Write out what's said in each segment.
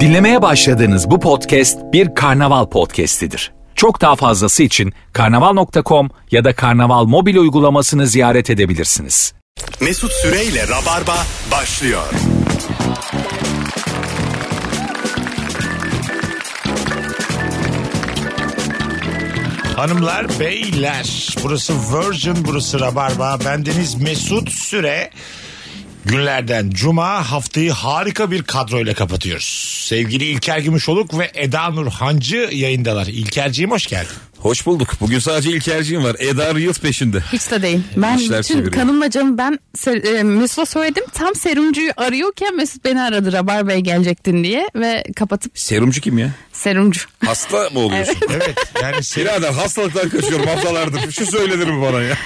Dinlemeye başladığınız bu podcast bir karnaval podcastidir. Çok daha fazlası için karnaval.com ya da karnaval mobil uygulamasını ziyaret edebilirsiniz. Mesut Süreyle Rabarba başlıyor. Hanımlar, beyler. Burası Virgin, burası Rabarba. Bendeniz Mesut Süre. Günlerden Cuma haftayı harika bir kadroyla kapatıyoruz. Sevgili İlker Gümüşoluk ve Eda Nur Hancı yayındalar. İlkerciğim hoş geldin. Hoş bulduk. Bugün sadece İlkerciğim var. Eda Reels peşinde. Hiç de değil. Ben İşler bütün çeviriyor. kanımla canım ben ser- e, Mesut'a söyledim. Tam serumcuyu arıyorken Mesut beni aradı Rabar Bey gelecektin diye ve kapatıp Serumcu kim ya? serumcu. Hasta mı oluyorsun? Evet yani seni... Birader hastalıklar kaçıyorum haftalardır. Şu söylenir mi bana ya?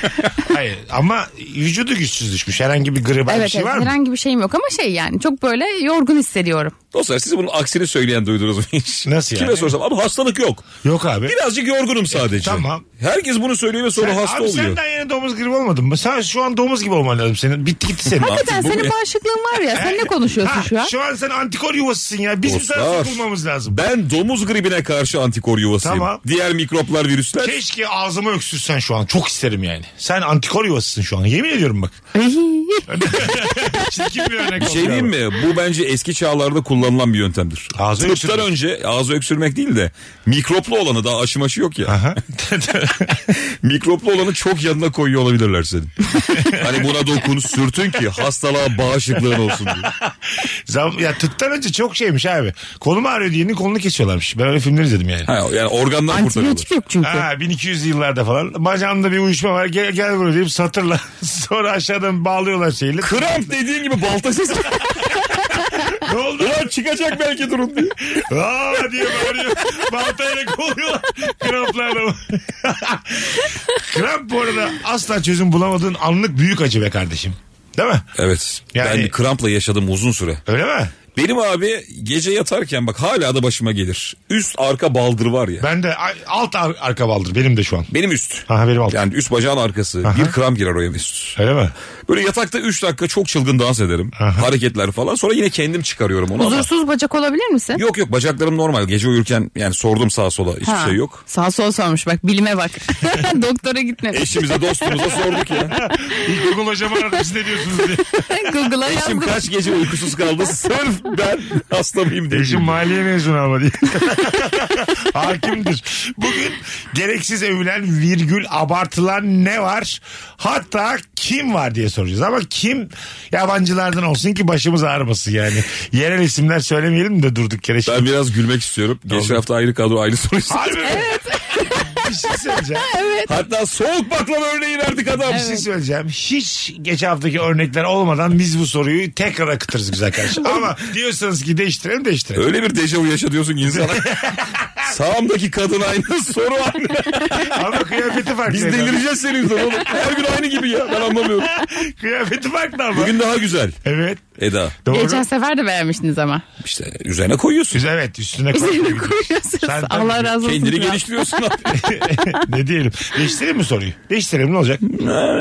Hayır ama vücudu güçsüz düşmüş. Herhangi bir gribal bir evet şey evet var mı? herhangi bir şeyim yok ama şey yani çok böyle yorgun hissediyorum. Dostlar siz bunun aksini söyleyen duydunuz mu hiç? Nasıl yani? Kime sorsam ama hastalık yok. Yok abi. Birazcık yorgunum sadece. tamam. Herkes bunu söylüyor ve sonra Sen- hasta abi oluyor. senden yeni domuz gribi olmadın mı? Sen şu an domuz gibi olman lazım senin. Bitti gitti senin. Hakikaten bu ne? senin bağışıklığın var ya sen ne konuşuyorsun Ha, şu an? Şu an sen antikor yuvasısın ya. Biz mi sana Dostlar. sokulmamız lazım? Ben domuz gribine karşı antikor yuvasıyım. Tamam. Diğer mikroplar, virüsler. Keşke ağzıma öksürsen şu an. Çok isterim yani. Sen antikor yuvasısın şu an. Yemin ediyorum bak. Çirkin bir örnek Bir şey diyeyim mi? Bu bence eski çağlarda kullanılan bir yöntemdir. Ağzı Tıptan öksürmek. önce ağzı öksürmek değil de mikroplu olanı daha aşı maşı yok ya. Aha. Mikroplu olanı çok yanına koyuyor olabilirler senin. hani buna dokun sürtün ki hastalığa bağışıklığın olsun diye. Zam, ya tıptan önce çok şeymiş abi. Kolum ağrıyor diyenin kolunu kesiyorlarmış. Ben öyle filmler izledim yani. Ha, yani organdan kurtarıyorlar. Antibiyotik yok çünkü. Ha 1200 yıllarda falan. Bacağımda bir uyuşma var. Gel gel buraya deyip satırla. Sonra aşağıdan bağlıyorlar şeyle. Kramp dediğin gibi balta sesi. ne oldu? Ulan çıkacak belki durum diye. Aa diye bağırıyor. Baltayla kovuyorlar. Kramplarla. Kramp bu arada asla çözüm bulamadığın anlık büyük acı be kardeşim. Değil mi? Evet. Yani- Ben bir krampla yaşadım uzun süre. Öyle mi? Benim abi gece yatarken bak hala da başıma gelir. Üst arka baldır var ya. Ben de a- alt ar- arka baldır benim de şu an. Benim üst. Aha benim alt. Yani üst bacağın arkası. Aha. Bir kramp girer oraya üst. Öyle mi? Böyle yatakta 3 dakika çok çılgın dans ederim. Hareketler falan. Sonra yine kendim çıkarıyorum onu ama. Huzursuz bacak olabilir misin? Yok yok bacaklarım normal. Gece uyurken yani sordum sağa sola hiçbir Ha. şey yok. Sağ sol sormuş bak bilime bak. Doktora gitme. Eşimize dostumuza sorduk ya. İlkokul hocam aradı siz ne diyorsunuz diye. Google'a Eşim yazdım. kaç gece uykusuz kaldı sırf ben hasta mıyım diye. Eşim maliye mezunu ama diye. Hakimdir. Bugün gereksiz övülen virgül abartılan ne var? Hatta kim var diye soracağız. Ama kim yabancılardan olsun ki başımız ağrımasın yani. Yerel isimler söylemeyelim de durduk yere. Ben biraz gülmek istiyorum. Geçen hafta ayrı kadro ayrı soru istedi. Harbi mi? Bir şey söyleyeceğim. Hatta soğuk baklava örneği verdik adam. Bir şey söyleyeceğim. Hiç geçen haftaki örnekler olmadan biz bu soruyu tekrar akıtırız güzel kardeşim. Ama diyorsanız ki değiştirelim değiştirelim. Öyle bir dejavu yaşatıyorsun ki insana. Sağımdaki kadın aynı soru aynı. Ama kıyafeti farklı. Biz efendim. delireceğiz senin yüzünden oğlum. Her gün aynı gibi ya ben anlamıyorum. Kıyafeti farklı ama. Bugün daha güzel. Evet. Eda. Doğru. Geçen sefer de beğenmiştiniz ama. İşte üzerine koyuyorsun. Biz evet üstüne Üzerine koyduk. Sen koyuyorsunuz. tabii Allah razı olsun. Kendini kral. geliştiriyorsun abi. ne diyelim? Değiştirelim mi soruyu? Değiştirelim ne olacak?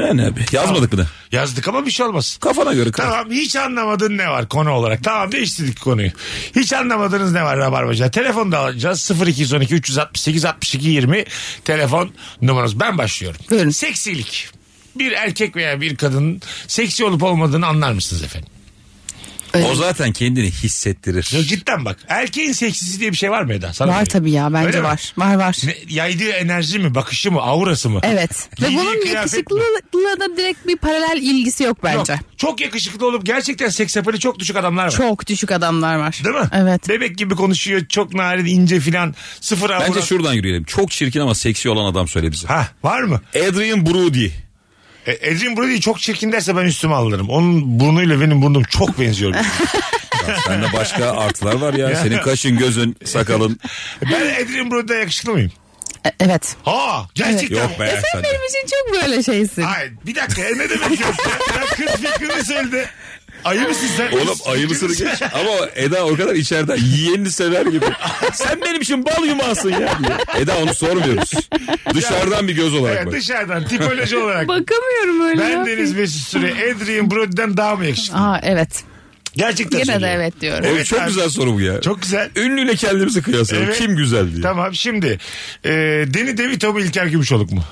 yani abi. Yazmadık mı da? Yazdık ama bir şey olmaz. Kafana göre kal. Tamam hiç anlamadığın ne var konu olarak? Tamam değiştirdik konuyu. Hiç anlamadığınız ne var Rabarbacı? Telefonu da alacağız. 0212 368 62 20 telefon numaranız. Ben başlıyorum. Buyurun. Seksilik. Bir erkek veya bir kadının seksi olup olmadığını anlar mısınız efendim? O zaten kendini hissettirir. Ya cidden bak. Erkeğin seksisi diye bir şey var mı Eda? Sana Var sorayım. tabii ya bence Öyle mi? var. Var var. Ne- yaydığı enerji mi, bakışı mı, aurası mı? Evet. Ve Giydiği bunun kıyafet mi? yakışıklılığa da direkt bir paralel ilgisi yok Yok, bence. Çok yakışıklı olup gerçekten seksapeli çok düşük adamlar var. Çok düşük adamlar var. Değil mi? Evet. Bebek gibi konuşuyor. Çok narin, ince filan. Sıfır Bence avura. şuradan yürüyelim. Çok çirkin ama seksi olan adam söyle bize. Ha var mı? Adrian Brody. E, Adrian Brody çok çirkin derse ben üstüme alırım. Onun burnuyla benim burnum çok benziyor. Sende başka artılar var ya. Senin kaşın, gözün, sakalın. ben Adrian Brody'den yakışıklı mıyım? E- evet. Ha gerçekten. Yok be. E Sen sen de. benim için çok böyle şeysin. Hayır bir dakika e, ne demek yok ya? Ya Kız fikrini söyledi. Ayı mısın sen? Oğlum Kız ayı mısını fikrini- geç. Ama Eda o kadar içeriden yiyenini sever gibi. Sen benim için bal yumağısın ya. diye. Eda onu sormuyoruz. Dışarıdan bir göz olarak Evet, bak. dışarıdan tipoloji olarak. Bakamıyorum öyle. ben ya. Deniz Mesut Süre Adrian Brody'den daha mı yakışıklı? Aa evet. Gerçekten Gene de söylüyorum. evet diyorum. Oğlum Evet çok abi. güzel soru bu ya. Çok güzel. Ünlüyle kendimizi kıyaslayalım. Evet. Kim güzel diye. Tamam şimdi e, Deni Devito mu İlker Gümüşoluk mu?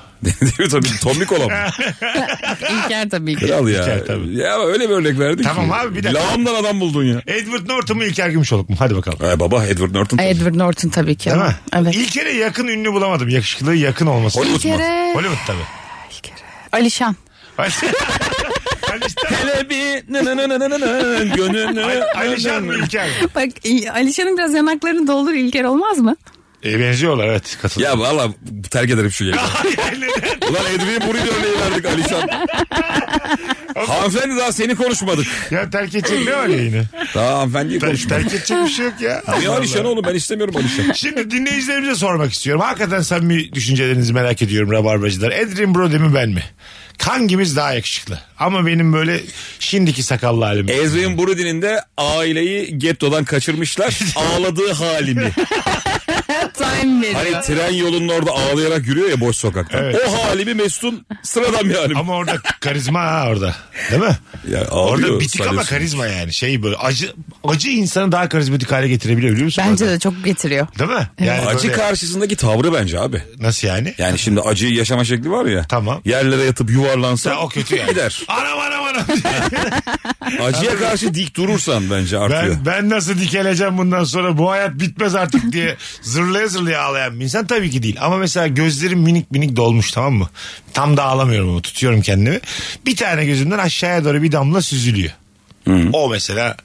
Tabii tabii Tommy Kolam. İlker tabii ki. Kral ya. Güzel, tabii. Ya ama öyle bir örnek verdik Tamam ki. abi, bir dakika. Lağımdan adam buldun ya. Edward Norton mu İlker Gümüşoluk mu? Hadi bakalım. Ay baba Edward Norton. tabii. Edward Norton tabii ki. Değil mi? Evet. İlker'e yakın ünlü bulamadım. Yakışıklılığı yakın olması. Hollywood mu? İlker'e- Hollywood tabii. Alişan. Alişan, Hele bir nı nı nı nı nı nı nı, gönlünü. Alişan mı İlker mi? Bak İl- Alişan'ın biraz yanaklarını doldur İlker olmaz mı? E, benziyorlar evet katılıyorum. Ya valla terk ederim şu yayını. Hayır, neden? Ulan Edwin Buruy'da örneği verdik Alişan. hanımefendi daha seni konuşmadık. ya terk edecek ne var yayını? Daha hanımefendiyi Ter- konuşmadık. terk edecek bir şey yok ya. Ya Allah Alişan Allah. oğlum ben istemiyorum Alişan. Şimdi dinleyicilerimize sormak istiyorum. Hakikaten samimi düşüncelerinizi merak ediyorum rabarbacılar. Edrin Brody mi ben mi? Hangimiz daha yakışıklı? Ama benim böyle şimdiki sakallı halim. Ezrin Burudin'in de aileyi gettodan kaçırmışlar. Ağladığı halini. Time veriyor. Hani tren yolunun orada ağlayarak yürüyor ya boş sokakta. Evet. O halimi Mesut'un sıradan bir halim. Ama orada karizma ha orada. Değil mi? Ya ağlıyor Orada bitik ama sanıyorsun. karizma yani. Şey böyle acı acı insanı daha karizmatik hale getirebiliyor biliyor musun? Bence Orada? de çok getiriyor. Değil mi? Yani Acı böyle- karşısındaki tavrı bence abi. Nasıl yani? Yani şimdi acıyı yaşama şekli var ya. Tamam. Yerlere yatıp yuvarlansa Ya o kötü yani. gider. Anam anam anam. Acıya karşı dik durursan bence artıyor. ben, ben nasıl dikeleceğim bundan sonra bu hayat bitmez artık diye zırlaya zırlaya ağlayan bir insan tabii ki değil. Ama mesela gözlerim minik minik dolmuş tamam mı? Tam da ağlamıyorum ama tutuyorum kendimi. Bir tane gözümden aşağıya doğru bir damla süzülüyor. O mesela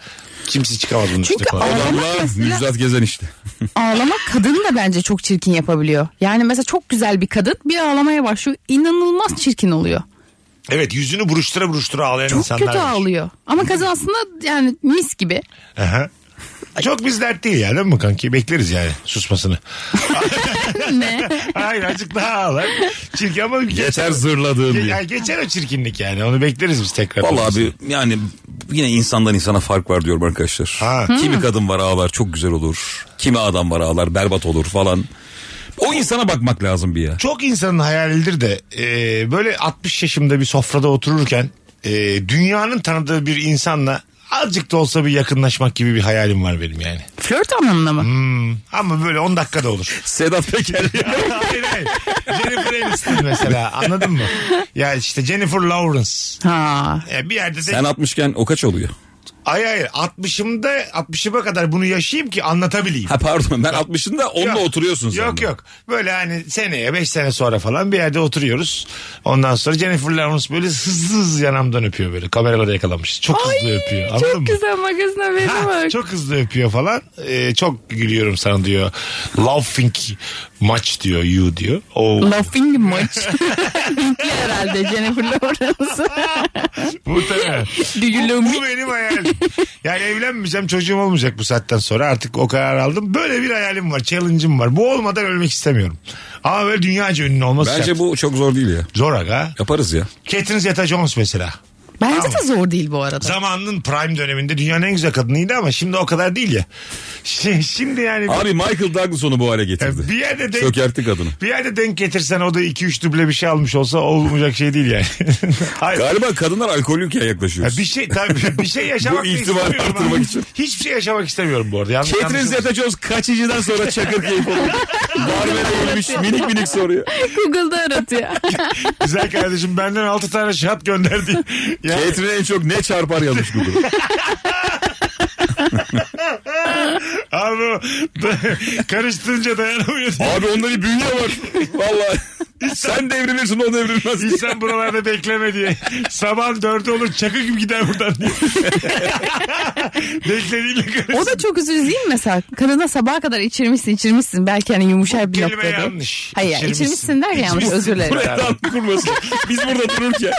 kimse çıkamaz bunun üstüne Çünkü kolay. ağlamak Allah mesela- Müjdat Gezen işte. ağlamak kadını da bence çok çirkin yapabiliyor. Yani mesela çok güzel bir kadın bir ağlamaya başlıyor. inanılmaz çirkin oluyor. Evet yüzünü buruştura buruştura ağlayan Çok insanlar kötü var. ağlıyor. Ama kadın aslında yani mis gibi. Aha. Çok biz dert değil yani değil mi kanki? Bekleriz yani susmasını. ne? Hayır azıcık daha ağlar. Çirkin ama Geçer zırladığın Ge- diye. yani geçer o çirkinlik yani. Onu bekleriz biz tekrar. Vallahi abi yani yine insandan insana fark var diyorum arkadaşlar. Ha. Kimi kadın var ağlar çok güzel olur. Kimi adam var ağlar berbat olur falan. O insana bakmak lazım bir ya. Çok insanın hayalidir de e, böyle 60 yaşımda bir sofrada otururken e, dünyanın tanıdığı bir insanla azıcık da olsa bir yakınlaşmak gibi bir hayalim var benim yani. Flört anlamında mı? Hmm. Ama böyle 10 dakikada olur. Sedat Peker. hayır hayır. Jennifer Aniston mesela anladın mı? Ya işte Jennifer Lawrence. Ha. E, bir yerde de Sen 60'ken o kaç oluyor? ay ay 60'ımda 60'ıma kadar bunu yaşayayım ki anlatabileyim. Ha pardon ben 60'ında onunla Yok. oturuyorsun sen. Yok de. yok. Böyle hani seneye 5 sene sonra falan bir yerde oturuyoruz. Ondan sonra Jennifer Lawrence böyle hızlı hızlı yanamdan öpüyor böyle. Kameralara yakalanmış. Çok hızlı öpüyor. Anladın mı? Çok güzel magazin haberi Ha, var. çok hızlı öpüyor falan. Ee, çok gülüyorum sana diyor. Laughing much diyor you diyor. Oh, Oo, Laughing much. Hintli herhalde Jennifer Lawrence. muhtemelen. Do Bu, you love me? bu benim hayalim. Yani evlenmeyeceğim çocuğum olmayacak bu saatten sonra. Artık o karar aldım. Böyle bir hayalim var. Challenge'ım var. Bu olmadan ölmek istemiyorum. Ama böyle dünyaca ünlü olması Bence şart. bu çok zor değil ya. Zor aga. Yaparız ya. Catherine Zeta-Jones mesela. Bence de zor değil bu arada. Zamanının prime döneminde dünyanın en güzel kadınıydı ama şimdi o kadar değil ya. Şi- Şimdi yani bir- Abi Michael Douglas onu bu hale getirdi. E, bir yerde denk, Çökertti kadını. bir yerde denk getirsen o da 2-3 duble bir şey almış olsa olmayacak şey değil yani. Hayır. Galiba kadınlar alkollüyken Ya yaklaşıyoruz. bir şey tabii bir şey yaşamak Bu da ihtimali istemiyorum abi. arttırmak için. Hiçbir şey yaşamak istemiyorum bu arada. Yanlış Catherine anlaşılmasın. Zeta-Jones kaçıncıdan sonra çakır keyif olur? Barbere girmiş minik minik soruyor. Google'da aratıyor. Güzel kardeşim benden 6 tane şat gönderdi. Yani Catherine en çok ne çarpar yazmış Google. abi o- karıştırınca dayanamıyor. Abi onda bir bünye var. Valla. Sen devrilirsin o devrilmez. İnsan buralarda bekleme diye. Sabah dörde olur çakı gibi gider buradan diye. Beklediğiyle karıştı. O da çok üzücü değil mi mesela? Kadına sabaha kadar içirmişsin içirmişsin. Belki hani yumuşar bir kelime noktada. yanlış. Hayır yani İçirmişsin. içirmişsin der ya yanlış özür dilerim. Buraya da haklı kurması. Biz burada dururken.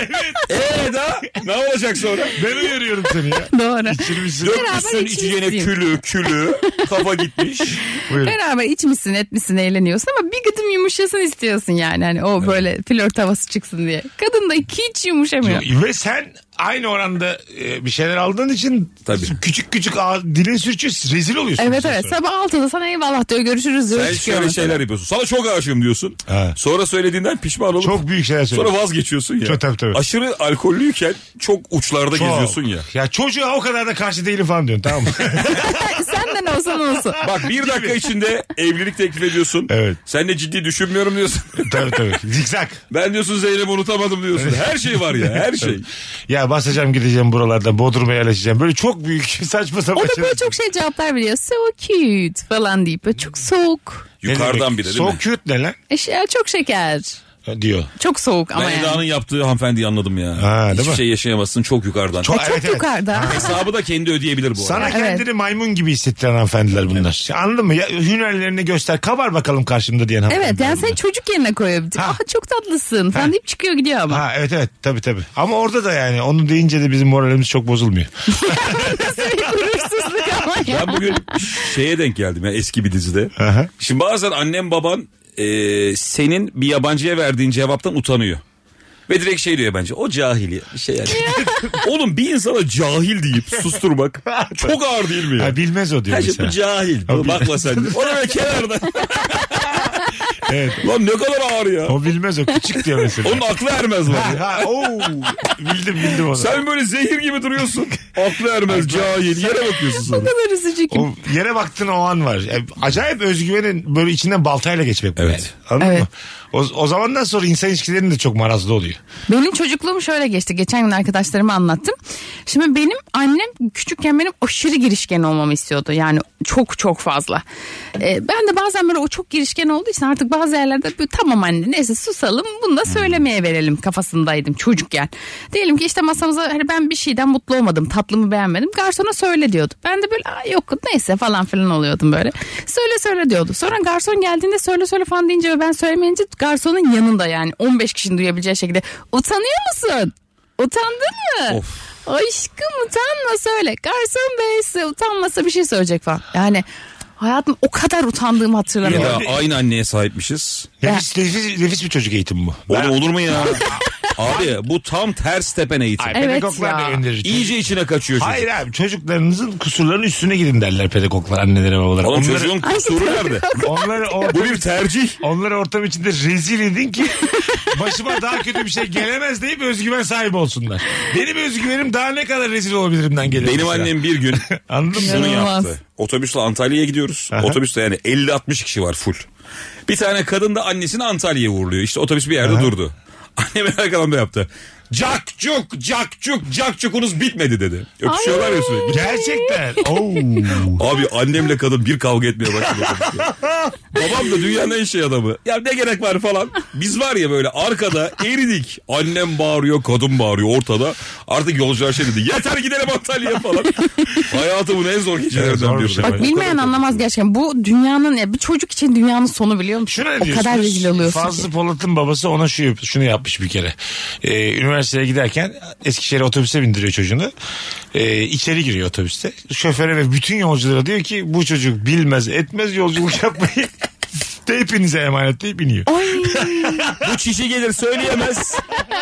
Eee da ne olacak sonra? Ben uyarıyorum seni ya. Doğru. Çirmişsin. Dökmüşsün içeceğine külü külü. Kafa gitmiş. Buyurun. Beraber içmişsin etmişsin eğleniyorsun ama bir gıdım yumuşasın istiyorsun yani. yani o böyle flört havası çıksın diye. Kadın da hiç yumuşamıyor. Ve sen aynı oranda e, bir şeyler aldığın için Tabii. küçük küçük ağ- dilin sürçüyor rezil oluyorsun. bir Evet süre evet sonra. sabah 6'da sana eyvallah diyor görüşürüz diyor Sen çıkıyor. şöyle şeyler yapıyorsun. Sana çok aşığım diyorsun. He. Sonra söylediğinden pişman olup Çok büyük şeyler sonra söylüyorsun. vazgeçiyorsun ya. Çok- tabii, tabii. Aşırı alkollüyken çok uçlarda Çok. geziyorsun ya. Ya çocuğa o kadar da karşı değilim falan diyorsun tamam mı? Senden olsan olsun. Bak bir dakika içinde evlilik teklif ediyorsun. Evet. Sen de ciddi düşünmüyorum diyorsun. tabii tabii. Zikzak. ben diyorsun Zeynep'i unutamadım diyorsun. Her şey var ya her şey. Ya basacağım gideceğim buralardan Bodrum'a yerleşeceğim. Böyle çok büyük saçma sapan O da böyle şeyler. çok şey cevaplar veriyor. So cute falan deyip böyle çok soğuk. Ne Yukarıdan demek? biri değil So mi? cute ne lan? Eşya çok şeker. Ha, Diyor. Çok soğuk ama Ben yani. Eda'nın yaptığı hanımefendiyi anladım ya. Ha, değil Hiçbir mi? şey yaşayamazsın çok yukarıdan. Çok- E, Çok Evet, evet. yukarıda. Hesabı da kendi ödeyebilir bu Sana arada. Evet. kendini maymun gibi hissettiren hanımefendiler bunlar. Anladın mı? Ya, hünerlerini göster. Kabar bakalım karşımda diyen hanımefendi. Evet yani seni çocuk yerine koyabilir. Ha. Ah çok tatlısın falan deyip çıkıyor gidiyor ama. Ha evet evet tabii tabii. Ama orada da yani onu deyince de bizim moralimiz çok bozulmuyor. Nasıl bir gurursuzluk ama ya. Ben bugün şeye denk geldim ya eski bir dizide. Aha. Şimdi bazen annem baban e, senin bir yabancıya verdiğin cevaptan utanıyor. Ve direkt şey diyor bence o cahil ya. Bir şey yani. Oğlum bir insana cahil deyip susturmak çok ağır değil mi ya? Ha, bilmez o diyor Her şey bu mesela. cahil. Bu Bakma sen. Ona böyle kenarda. Evet. Lan ne kadar ağır ya. O bilmez o küçük diyor mesela. Onun aklı ermez var Ha, ya. ha, oo. Bildim bildim onu. Sen böyle zehir gibi duruyorsun. Aklı ermez cahil. Yere bakıyorsun O sonra. kadar üzücü ki. O yere baktığın o an var. E, Acayip özgüvenin böyle içinden baltayla geçmek bu Evet. yani. Anladın Evet. mı? O, o zamandan sonra insan ilişkilerinin de çok marazlı oluyor. Benim çocukluğum şöyle geçti. Geçen gün arkadaşlarıma anlattım. Şimdi benim annem küçükken benim aşırı girişken olmamı istiyordu. Yani çok çok fazla. Ee, ben de bazen böyle o çok girişken olduğu için artık bazı yerlerde böyle, tamam anne neyse susalım bunu da söylemeye verelim kafasındaydım çocukken. Diyelim ki işte masamıza hani ben bir şeyden mutlu olmadım tatlımı beğenmedim garsona söyle diyordu. Ben de böyle "Aa, yok neyse falan filan oluyordum böyle. Söyle söyle diyordu. Sonra garson geldiğinde söyle söyle falan deyince ve ben söylemeyince garsonun yanında yani 15 kişinin duyabileceği şekilde utanıyor musun? Utandın mı? Of. Aşkım utanma söyle. Garson bey size utanmasa bir şey söyleyecek falan. Yani hayatım o kadar utandığımı Ya hatırlamıyorum. da aynı anneye sahipmişiz. Nefis, nefis, nefis bir çocuk eğitimi bu. Oğlum olur mu ya? Abi bu tam ters tepen eğitim. Ay, Evet pedagoglar ya. da önerir. İyice içine kaçıyor çocuk. Hayır abi çocuklarınızın kusurlarının üstüne gidin derler pedagoglar annelere babalara. Oğlum Onları- çocuğun kusuru nerede? Onları, or- Bu bir tercih. onları ortam içinde rezil edin ki başıma daha kötü bir şey gelemez deyip özgüven sahibi olsunlar. Benim özgüvenim daha ne kadar rezil olabilirimden geliyor. Benim mesela. annem bir gün Anladın mı? bunu İnanılmaz. yaptı. Otobüsle Antalya'ya gidiyoruz. Otobüste yani 50-60 kişi var full. Bir tane kadın da annesini Antalya'ya uğurluyor. İşte otobüs bir yerde durdu. Annem arkadan da yaptı. Cakçuk, cakçuk, cakçukunuz bitmedi dedi. Öpüşüyorlar ya sürekli. Gerçekten. Oo. Abi annemle kadın bir kavga etmeye başladı. otobüste. Babam da dünyanın en şey adamı. Ya ne gerek var falan. Biz var ya böyle arkada eridik. Annem bağırıyor, kadın bağırıyor ortada. Artık yolcular şey dedi. Yeter gidelim Antalya'ya falan. Hayatımın en zor Evet, şey. gecelerinden zormuş biri. ama. Bak bilmeyen anlamaz gerçekten. Bu dünyanın ya bir çocuk için dünyanın sonu biliyor musun? Şuna ne o diyorsunuz? kadar rezil oluyorsun. Fazlı ki. Polat'ın babası ona şu yap- şunu yapmış bir kere. Ee, üniversiteye giderken Eskişehir'e otobüse bindiriyor çocuğunu. Ee, içeri giriyor otobüste. Şoföre ve bütün yolculara diyor ki bu çocuk bilmez etmez yolculuk yapmayı. De hepinize emanet deyip iniyor. Ay Bu çişi gelir söyleyemez.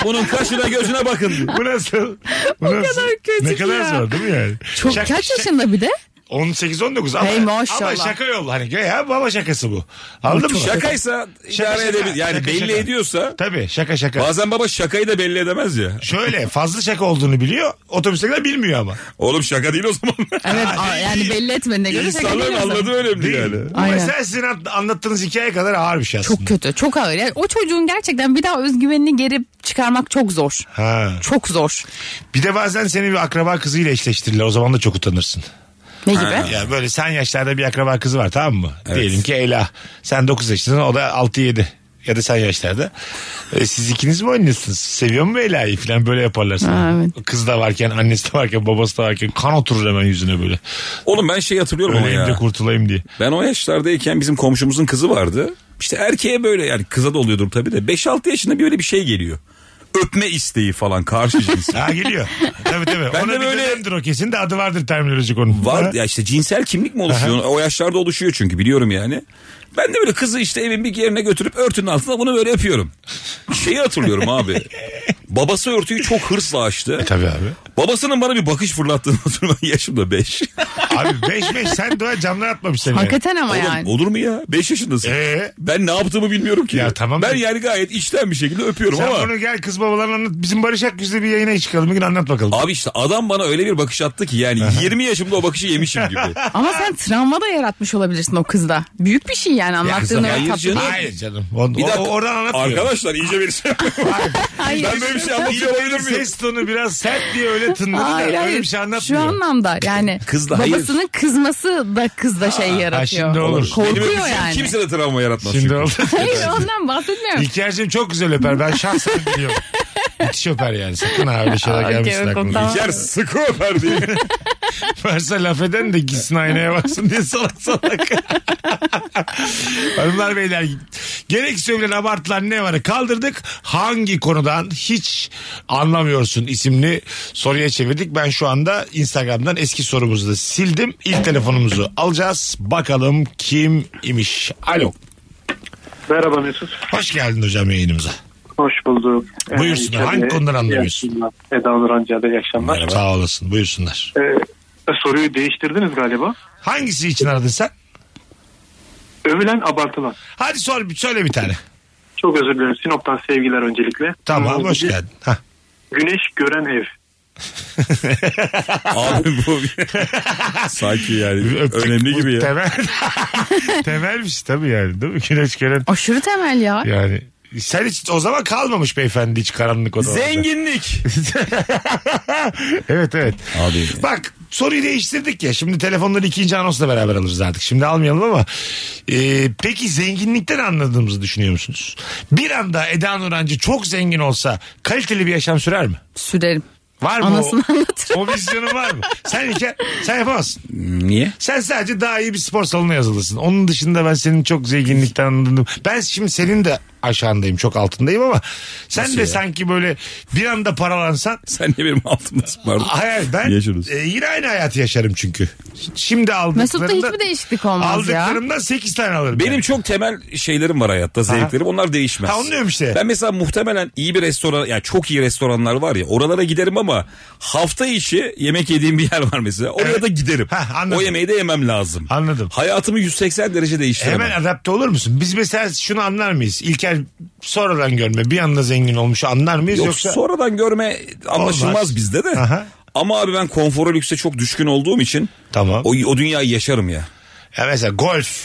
Bunun kaşına gözüne bakın. diyor. Bu nasıl? Bu o kadar kötü Ne ki kadar ya. zor değil mi yani? çok Şak- kaç şak- yaşında bir de? 18-19 ama, Hey maşallah. ama şaka yolu. Hani ya baba şakası bu. Anladın mı? Şakaysa Şaka, idare şaka. edebilir. Yani Şaka, belli şaka. ediyorsa Tabii şaka şaka. bazen baba şakayı da belli edemez ya. Şöyle fazla şaka olduğunu biliyor. Otobüstekiler bilmiyor ama. Oğlum şaka değil o zaman. Evet aa, yani belli etmediğine göre şaka İnsanların değil o zaman. anladığı önemli Değil. yani. Bu Aynen. mesela sizin at- anlattığınız hikaye kadar ağır bir şey aslında. Çok kötü çok ağır. Yani o çocuğun gerçekten bir daha özgüvenini geri çıkarmak çok zor. Ha. Çok zor. Bir de bazen seni bir akraba kızıyla eşleştirirler. O zaman da çok utanırsın. Ne gibi? Ya böyle sen yaşlarda bir akraba kızı var tamam mı? Diyelim ki Ela. Sen 9 yaşındasın o da 6-7 ya da sen yaşlarda. E, siz ikiniz mi oynuyorsunuz? Seviyor mu Ela'yı falan böyle yaparlar sana. Ha, evet. Kız da varken, annesi de varken, babası da varken kan oturur hemen yüzüne böyle. Oğlum ben şey hatırlıyorum ama Öleyim de ya. kurtulayım diye. Ben o yaşlardayken bizim komşumuzun kızı vardı. İşte erkeğe böyle yani kıza da oluyordur tabii de 5-6 yaşında böyle bir şey geliyor. öpme isteği falan karşı cinsi. Ha geliyor. Tabii tabii. Ben Ona de bir böyle- dönemdir o kesin de adı vardır terminolojik onun. Var ya işte cinsel kimlik mi oluşuyor? O yaşlarda oluşuyor çünkü biliyorum yani. Ben de böyle kızı işte evin bir yerine götürüp örtünün altına bunu böyle öpüyorum. Şeyi hatırlıyorum abi. Babası örtüyü çok hırsla açtı. E, Tabii abi. Babasının bana bir bakış fırlattığını hatırlıyorum. Yaşım da 5. Abi 5 5 sen dua camlar atmamış seni. Hakikaten ama Oğlum yani. olur mu ya? 5 yaşındasın. Ee? Ben ne yaptığımı bilmiyorum ki. Ya tamam ben da- yani gayet içten bir şekilde öpüyorum Sen ama. bunu gel kız babalarına anlat. Bizim Barış Akgüz'le bir yayına çıkalım. Bir gün anlat bakalım. Abi işte adam bana öyle bir bakış attı ki yani 20 yaşımda o bakışı yemişim gibi. Ama sen travma da yaratmış olabilirsin o kızda. Büyük bir şey yani anlattığın hayır öyle tatlı. canım. Hayır canım. O, Bir dakika. o- oradan anlatmıyor. Arkadaşlar iyice bir şey. Hayır. ben böyle bir şey anlatıyor olabilir miyim? Ses tonu biraz sert diye öyle tınladı da Hayır öyle hayır. bir şey Şu anlatmıyor. anlamda yani Kızla, hayır. babasının kızması da kızda şey yaratıyor. şimdi olur. Benim Korkuyor öpüşüm yani. Kimse de travma yaratmaz. Şimdi çünkü. oldu. Hayır ondan bahsetmiyorum. İlker'cim çok güzel öper. Ben şahsen biliyorum. Müthiş öper yani. Sakın ha öyle şeyler Okey, gelmesin yok, aklına. tamam. Yer sıkı öper diye. Varsa laf eden de gitsin aynaya baksın diye salak salak. Hanımlar beyler gerek söylenen abartılan ne var kaldırdık. Hangi konudan hiç anlamıyorsun isimli soruya çevirdik. Ben şu anda Instagram'dan eski sorumuzu da sildim. İlk telefonumuzu alacağız. Bakalım kim imiş. Alo. Merhaba Mesut. Hoş geldin hocam yayınımıza. Hoş bulduk. Ee, Buyursunlar. Hangi konuları anlamıyorsun? iyi akşamlar. Eda Nur Anca iyi akşamlar. Sağ olasın. Buyursunlar. Ee, soruyu değiştirdiniz galiba. Hangisi için aradın sen? Övülen abartılan. Hadi sor bir söyle bir tane. Çok özür dilerim. Sinop'tan sevgiler öncelikle. Tamam Ee, hoş bir- geldin. Hah. Güneş gören ev. Abi bu sanki yani Öptük. önemli Bu gibi ya. Temel. Temelmiş tabii yani değil mi? Güneş gören Aşırı temel ya. yani. Sen hiç o zaman kalmamış beyefendi hiç karanlık odalarda. Zenginlik. Evet evet. Abi. Bak soruyu değiştirdik ya. Şimdi telefonları ikinci anonsla beraber alırız artık. Şimdi almayalım ama. e, peki zenginlikten anladığımızı düşünüyor musunuz? Bir anda Eda Nurancı çok zengin olsa kaliteli bir yaşam sürer mi? Sürerim. Var mı Anasını o? anlatırım. O vizyonun var mı? Sen İlker, sen yapamazsın. Hmm, Niye? Sen sadece daha iyi bir spor salonuna yazılırsın. Onun dışında ben senin çok zenginlikten anladım. Ben şimdi senin de aşağındayım çok altındayım ama sen de sanki böyle bir anda paralansan Sen niye benim altımdasın pardon. hayır ben Yaşarız. e, yine aynı hayatı yaşarım çünkü. Şimdi aldıklarımda Mesut'ta hiçbir değişiklik olmaz ya. aldıklarımdan 8 tane alırım. Benim yani. çok temel şeylerim var hayatta zevklerim onlar değişmez. Ha, onu diyorum işte. Ben mesela muhtemelen iyi bir restoran yani çok iyi restoranlar var ya oralara giderim ama hafta içi yemek yediğim bir yer var mesela oraya Evet. da giderim. Ha, anladım. o yemeği de yemem lazım. Anladım. Hayatımı 180 derece değiştiremem. Hemen adapte olur musun? Biz mesela şunu anlar mıyız? İlker sonradan görme bir anda zengin olmuş anlar mıyız? Yok Yoksa sonradan görme anlaşılmaz Olmaz. bizde de. Aha. Ama abi ben konfora lükse çok düşkün olduğum için Tamam. o, o dünyayı yaşarım ya. Ya mesela golf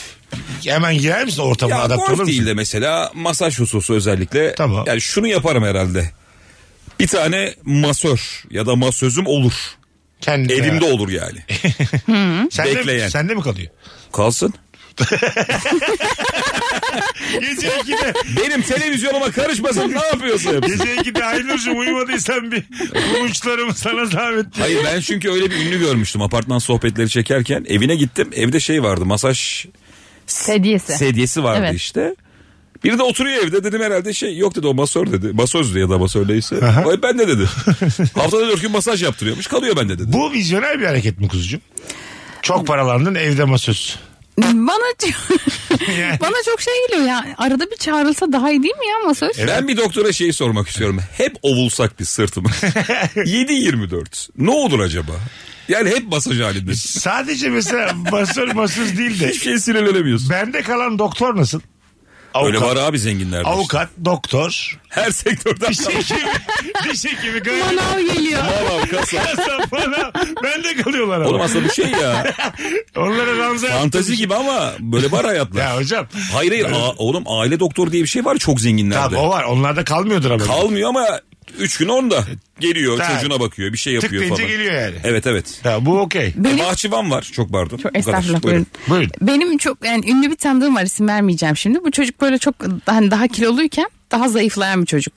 hemen girer misin ortamına Ya adapte olur golf musun? değil de mesela masaj hususu özellikle. Tamam. Yani şunu yaparım herhalde. Bir tane masör ya da masözüm olur. Kendine. Evimde olur yani. E, sen bekleyen. De, sen de mi kalıyor? Kalsın. Gece 2'de Benim televizyonuma karışmasın ne yapıyorsun hepsi? gece 2'de Aynur'cum uyumadıysan bir bu uçlarımı sana zahmet. Hayır ben çünkü öyle bir ünlü görmüştüm apartman sohbetleri çekerken. Evine gittim evde şey vardı masaj Hediyesi. sedyesi vardı Evet. işte. Biri de oturuyor evde dedim herhalde şey yok dedi o masör dedi. Masözdü ya da masör neyse. Ay, Ben de dedi. Haftada dört gün masaj yaptırıyormuş kalıyor bende dedi. Bu vizyoner bir hareket mi kuzucuğum? Çok paralandın evde masöz. Bana Yani. bana çok şey geliyor ya. Arada bir çağrılsa daha iyi değil mi ya masaj? Ben bir doktora şeyi sormak istiyorum. Hep ovulsak biz sırtımız. 7-24 ne olur acaba? Yani hep masaj halinde. Hiçbir Sadece mesela masöz masöz değil de şeye sinirlenemiyorsun. bende kalan doktor nasıl? Avukat. Öyle var abi zenginlerde. işte. Avukat, şey- doktor, Her sektörden. diş hekimi, diş hekimi, gayet Manav geliyor. Tamam kasa. şey bana bende kalıyorlar ama. Oğlum aslında bu şey ya. Onlara ranza Fantazi gibi ama böyle var hayatlar. Ya hocam. Hayır hayır a- oğlum aile doktoru diye bir şey var çok zenginlerde. Tabii o var. Onlarda kalmıyordur ama. Kalmıyor ama 3 gün onda geliyor Tabii. çocuğuna bakıyor bir şey yapıyor deyince falan. geliyor yani. Evet evet. E, Ya, bu okey. Benim Bahçıvan var çok pardon. Bu Çok kadar. estağfurullah Buyurun. buyurun. Buyurun. Benim çok yani ünlü bir tanıdığım var isim vermeyeceğim şimdi. Bu çocuk böyle çok hani daha kiloluyken daha zayıflayan bir çocuk.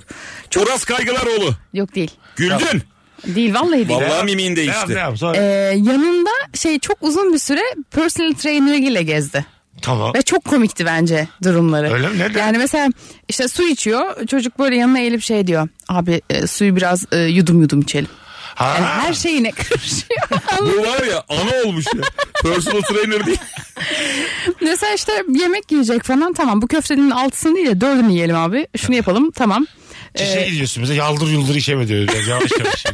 Çoras Kaygılaroğlu. Yok değil. Güldün. Değil vallahi değil. Vallahi mimin Devam değişti. devam. Sonra Ee, yanında şey çok uzun bir süre personal trainer ile gezdi. Tamam. Ve çok komikti bence durumları. Öyle mi? Neden? Yani mesela işte su içiyor. Çocuk böyle yanına eğilip şey diyor. Abi e, suyu biraz e, yudum yudum içelim. Ha. Yani her şeyine karışıyor. Bu var ya ana olmuş ya. Personal trainer değil. Mesela işte yemek yiyecek falan tamam. Bu köftenin altısını değil de dördünü yiyelim abi. Şunu yapalım tamam. Çişe şey- gidiyorsun bize yaldır yuldur işeme diyor. Yani Yavaş yavaş.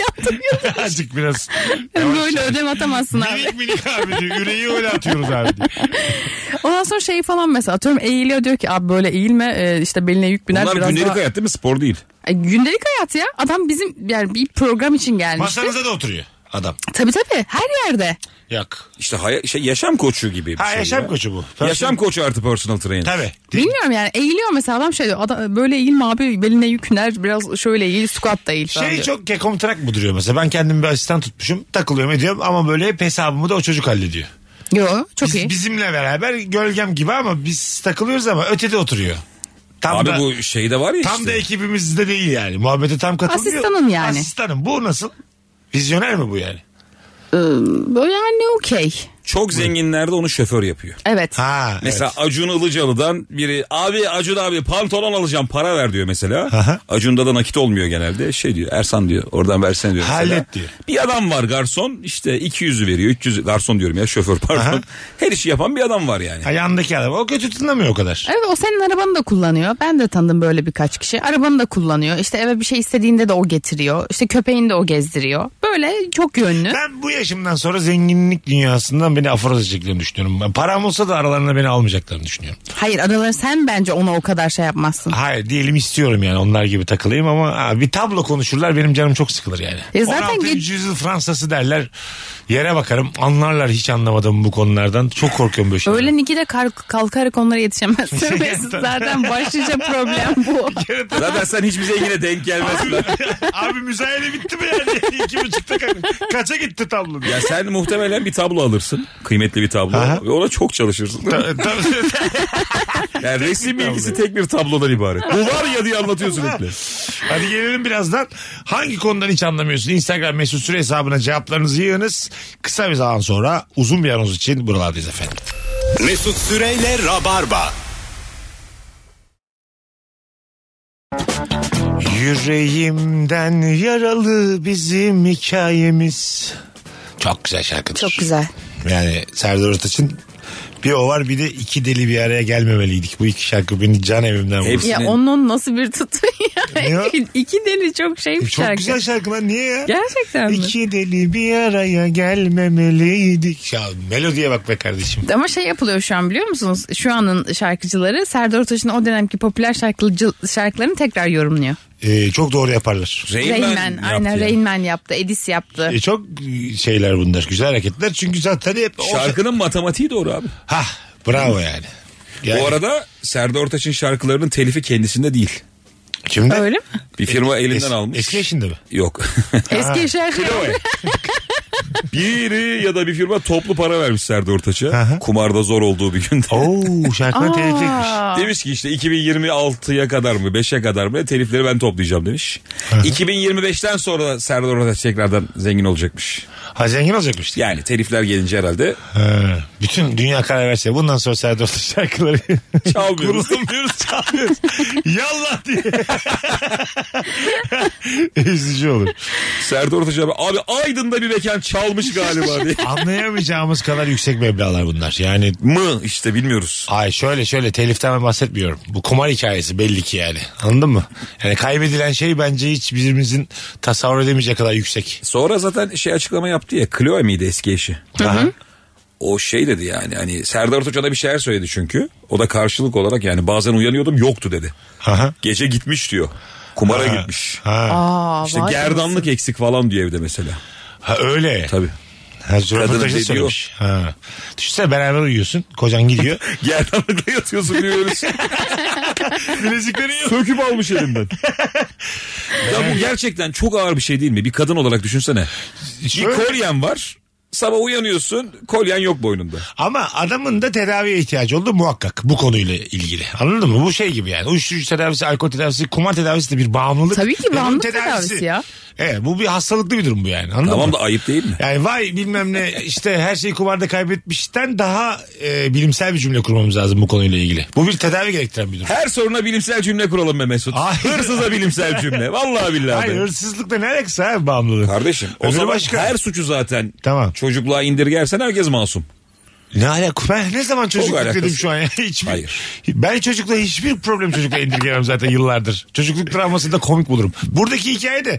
Yaptım yudum. Azıcık biraz. yavaş Böyle yavaş. ödem atamazsın abi. Minik minik abi diyor. Yüreği öyle atıyoruz abi diyor. Ondan sonra şey falan mesela atıyorum eğiliyor diyor ki abi böyle eğilme e, işte beline yük biner Bunlar biraz gündelik daha. hayat değil mi? Spor değil. E, Gündelik hayat ya. Adam bizim yani bir program için gelmişti. Masanıza da oturuyor adam. Tabii tabii her yerde. Yok. İşte haya- şey, yaşam koçu gibi bir Ha şey yaşam ya. koçu bu. Yaşam koçu artı personal trainer. Tabii. Değil mi? Bilmiyorum yani eğiliyor mesela adam şey diyor adam, böyle eğilme abi beline yüküner biraz şöyle eğil squat da eğil falan Şey diyor. çok kekomtrak mı duruyor mesela? Ben kendim bir asistan tutmuşum. Takılıyorum ediyorum ama böyle hep hesabımı da o çocuk hallediyor. Yo çok Biz- iyi. bizimle beraber gölgem gibi ama biz takılıyoruz ama ötede oturuyor. Tam Abi da, bu şeyde var ya tam işte. da ekibimizde değil yani. Muhabbete tam katılmıyor. Asistanın yani. Asistanım. Bu nasıl? Vizyoner mi bu yani? Ee, Böyle yani okey. Çok zenginlerde onu şoför yapıyor. Evet. Ha. Mesela Acun Ilıcalı'dan biri abi Acun abi pantolon alacağım para ver diyor mesela. Aha. Acun'da da nakit olmuyor genelde. Şey diyor Ersan diyor oradan versene diyor. mesela. Hallet diyor. Bir adam var garson işte 200'ü veriyor 300 garson diyorum ya şoför pardon. Aha. Her işi yapan bir adam var yani. Ha, yandaki adam. O kötü tınlamıyor o kadar. Evet o senin arabanı da kullanıyor. Ben de tanıdım böyle birkaç kişi. Arabanı da kullanıyor. İşte eve bir şey istediğinde de o getiriyor. İşte köpeğini de o gezdiriyor. Böyle çok yönlü. Ben bu yaşımdan sonra zenginlik dünyasından beni aforoz edeceklerini düşünüyorum. Ben param olsa da aralarına beni almayacaklarını düşünüyorum. Hayır araları sen bence ona o kadar şey yapmazsın. Hayır diyelim istiyorum yani onlar gibi takılayım ama ha, bir tablo konuşurlar benim canım çok sıkılır yani. E zaten 16. ge- yüzyıl Fransası derler yere bakarım anlarlar hiç anlamadım bu konulardan çok korkuyorum böyle şeylerden. Öğlen 2'de kar- kalkarak onlara yetişemezsin. Ve zaten başlıca problem bu. Zaten sen hiçbir zengine denk gelmezsin. Abi müzayede bitti mi yani? İki buçukta ka- kaça gitti tablo diye. ya sen muhtemelen bir tablo alırsın. Kıymetli bir tablo. Aha. Ve ona çok çalışırsın. Ta- ta- Yani resim bilgisi tek bir tablodan ibaret. Bu var ya diye anlatıyor sürekli. Hadi gelelim birazdan. Hangi konudan hiç anlamıyorsun? Instagram mesut süre hesabına cevaplarınızı yığınız. Kısa bir zaman sonra uzun bir anons için buralardayız efendim. Mesut Süreyle Rabarba. Yüreğimden yaralı bizim hikayemiz. Çok güzel şarkıdır. Çok güzel. Yani Serdar Ortaç'ın bir o var bir de iki deli bir araya gelmemeliydik. Bu iki şarkı beni can evimden vurdu. Hepsi- Ya Senin- onun nasıl bir tutu Ne o? E, ya. İki deli çok şey bir Çok şarkı. güzel şarkı lan niye ya? Gerçekten mi? İki deli bir araya gelmemeliydik. Ya melodiye bak be kardeşim. Ama şey yapılıyor şu an biliyor musunuz? Şu anın şarkıcıları Serdar Ortaç'ın o dönemki popüler şarkıcı, şarkılarını tekrar yorumluyor. Ee, çok doğru yaparlar. Rain Man Rain Man, yaptı aynen yani. Rain Man yaptı, Edis yaptı. E, çok şeyler bunlar. Güzel hareketler. Çünkü zaten hep... Şarkının matematiği doğru abi. Ha, bravo yani. yani Bu arada Serdar Ortaç'ın şarkılarının telifi kendisinde değil. kimde? Öyle mi? Bir firma elinden Es- almış. Eski eşinde mi? Yok. Eski şarkı. Biri ya da bir firma toplu para vermiş Serdar Ortaç'a. Aha. Kumarda zor olduğu bir günde. Oo şarkının telif etmiş. Aa, Demiş ki işte 2026'ya kadar mı 5'e kadar mı telifleri ben toplayacağım demiş. 2025'ten sonra Serdar Ortaç tekrardan zengin olacakmış. Ha zengin olacakmış. Yani telifler gelince herhalde Ha, bütün dünya karar verse bundan sonra Serdar Ortaç şarkıları çalmıyoruz. kurulmuyoruz çalmıyoruz. Yallah diye. Üzücü olur. Serdar Ortaç abi, abi Aydın'da bir mekan çalmış galiba diye. Anlayamayacağımız kadar yüksek meblağlar bunlar. Yani mı işte bilmiyoruz. Ay şöyle şöyle teliften ben bahsetmiyorum. Bu kumar hikayesi belli ki yani. Anladın mı? Yani kaybedilen şey bence hiç birimizin tasavvur edemeyeceği kadar yüksek. Sonra zaten şey açıklama yaptı ya Chloe miydi eski eşi? O şey dedi yani hani Serdar Ortaç ona bir şeyler söyledi çünkü. O da karşılık olarak yani bazen uyanıyordum yoktu dedi. Aha. Gece gitmiş diyor. Kumara Ha. gitmiş. Ha. Aa, İşte vay gerdanlık eksik falan diyor evde mesela. ha öyle. Tabii. Ha, Kadının Kadının dediği söylemiş. Ha. Düşünsene beraber uyuyorsun. Kocan gidiyor. Gerdanlıkla yatıyorsun diyor öyle. şey. Bileziklerin yok. Söküp almış elimden. ya bu gerçekten çok ağır bir şey değil mi? Bir kadın olarak düşünsene. Bir Şöyle- kolyen var. Sabah uyanıyorsun kolyen yok boynunda. Ama adamın da tedaviye ihtiyacı oldu muhakkak bu konuyla ilgili. Anladın mı? Bu şey gibi yani. Uyuşturucu tedavisi, alkol tedavisi, kumar tedavisi de bir bağımlılık. Tabii ki Ve bunun bağımlılık tedavisi ya. Evet bu bir hastalıklı bir durum bu yani. Anladın Tamam mı? da ayıp değil mi? Yani vay bilmem ne işte her şeyi kumarda kaybetmişten daha e, bilimsel bir cümle kurmamız lazım bu konuyla ilgili. Bu bir tedavi gerektiren bir durum. Her soruna bilimsel cümle kuralım be Mesut. Ay. Hırsıza bilimsel cümle. Vallahi billahi. Hayır be. hırsızlıkla ne alakası abi bağımlılığı? Kardeşim o Öbürü zaman başka. her suçu zaten Tamam. çocukluğa indirgersen herkes masum. Ne alakası? Ben ne zaman çocukluk alakası. dedim şu an ya? Hiçbir, Hayır. Ben çocukla hiçbir problem çocukla indirgemem zaten yıllardır. Çocukluk travmasını da komik bulurum. Buradaki hikaye de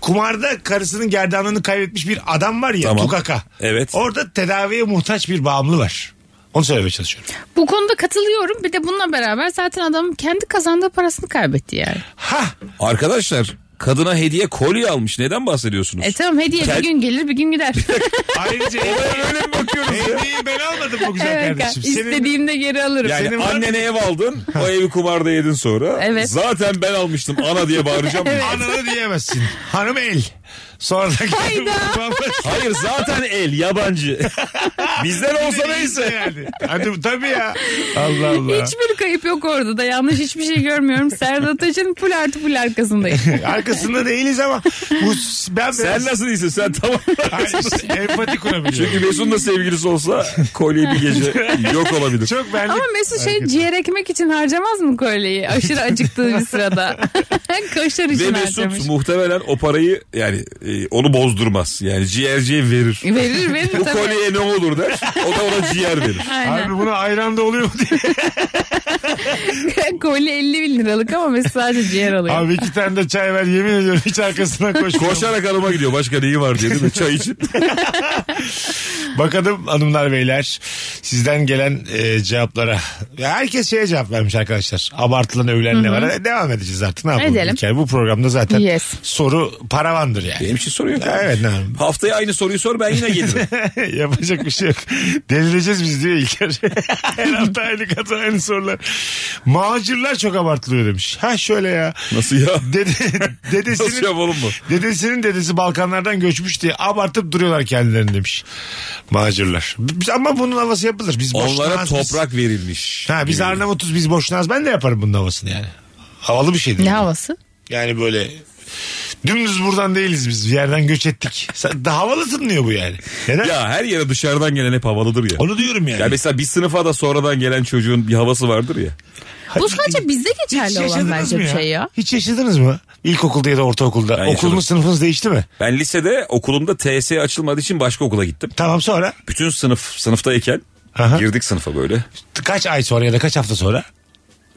kumarda karısının gerdanlığını kaybetmiş bir adam var ya Tamam. tukaka. Evet. Orada tedaviye muhtaç bir bağımlı var. Onu söylemeye çalışıyorum. Bu konuda katılıyorum. Bir de bununla beraber zaten adam kendi kazandığı parasını kaybetti yani. Ha Arkadaşlar kadına hediye kolye almış. Neden bahsediyorsunuz? E tamam hediye Kend- bir gün gelir bir gün gider. ayrıca Öyle mi bakıyoruz ya? hediyeyi ben almadım bu güzel Evet, kardeşim. Senin İstediğimde geri alırım. Yani Senin var annene ev aldın. O evi kumarda yedin sonra. Evet. Zaten ben almıştım ana diye bağıracağım. ananı diyemezsin. Hanım el. Sonra da Hayır zaten el yabancı. Bizden olsa neyse. yani. Hadi tabii ya. Allah Allah. Hiçbir kayıp yok orada da yanlış hiçbir şey görmüyorum. Serdar Taş'ın full artı full arkasındayım. Arkasında değiliz ama bu ben Sen biraz- nasıl değilsin sen tamam. Hayır, empati kurabiliyorum. Çünkü Mesut'un da sevgilisi olsa kolye bir gece yok olabilir. çok benlik. Ama Mesut şey Hareket. ciğer ekmek için harcamaz mı kolyeyi? Aşırı acıktığı bir sırada. Kaşar Ve için harcamış. Mesut muhtemelen o parayı yani e, onu bozdurmaz. Yani ciğerciye verir. Verir verir Bu E, tabii. kolyeye ne olur der. O da ona ciğer verir. Aynen. Abi buna ayran da oluyor mu diye. Kolye 50 bin liralık ama Mesut sadece ciğer alıyor. Abi iki tane de çay ver yemin ediyorum hiç arkasına koşmuyorum. Koşarak hanıma gidiyor. Başka neyi var diye değil mi? Çay için. Bakalım hanımlar beyler sizden gelen e, cevaplara. Ya Herkes şeye cevap vermiş arkadaşlar. Abartılan övülen ne var? E, Devam edeceğiz artık ne yapalım. Edelim. İlker? Bu programda zaten Yes. soru paravandır yani. Benim için soruyor. Evet ne yapalım? Haftaya aynı soruyu sor ben yine gelirim. Yapacak bir şey yok. Delireceğiz biz diyor İlker. Her hafta aynı kata aynı sorular. Macirler çok abartılıyor demiş. Ha şöyle ya. Nasıl ya? Dede, Nasıl dedesinin, yapalım bu? dedesinin dedesi Balkanlardan göçmüş diye abartıp duruyorlar kendilerini demiş. Macirler. Biz- Ama bunun havası yapılır. Biz Onlara boşnağız biz. toprak verilmiş. Ha, biz Arnavutuz biz boşnağız. Ben de yaparım bunun havasını yani. Havalı bir şeydir. Ne havası? Yani böyle dümdüz buradan değiliz biz. Bir yerden göç ettik. Sa- Da havalı tınlıyor bu yani. Neden? Ya her yere dışarıdan gelen hep havalıdır ya. Onu diyorum yani. Ya mesela bir sınıfa da sonradan gelen çocuğun bir havası vardır ya. Bu sadece bizde Hiç geçerli olan yaşadınız bence mı bir şey ya. Hiç yaşadınız mı? İlkokulda ya da ortaokulda. Ben Okulunuz yaşadım. sınıfınız değişti mi? Ben lisede okulumda TS açılmadığı için başka okula gittim. Tamam sonra? Bütün sınıf sınıftayken Aha. girdik sınıfa böyle. Kaç ay sonra ya da kaç hafta sonra?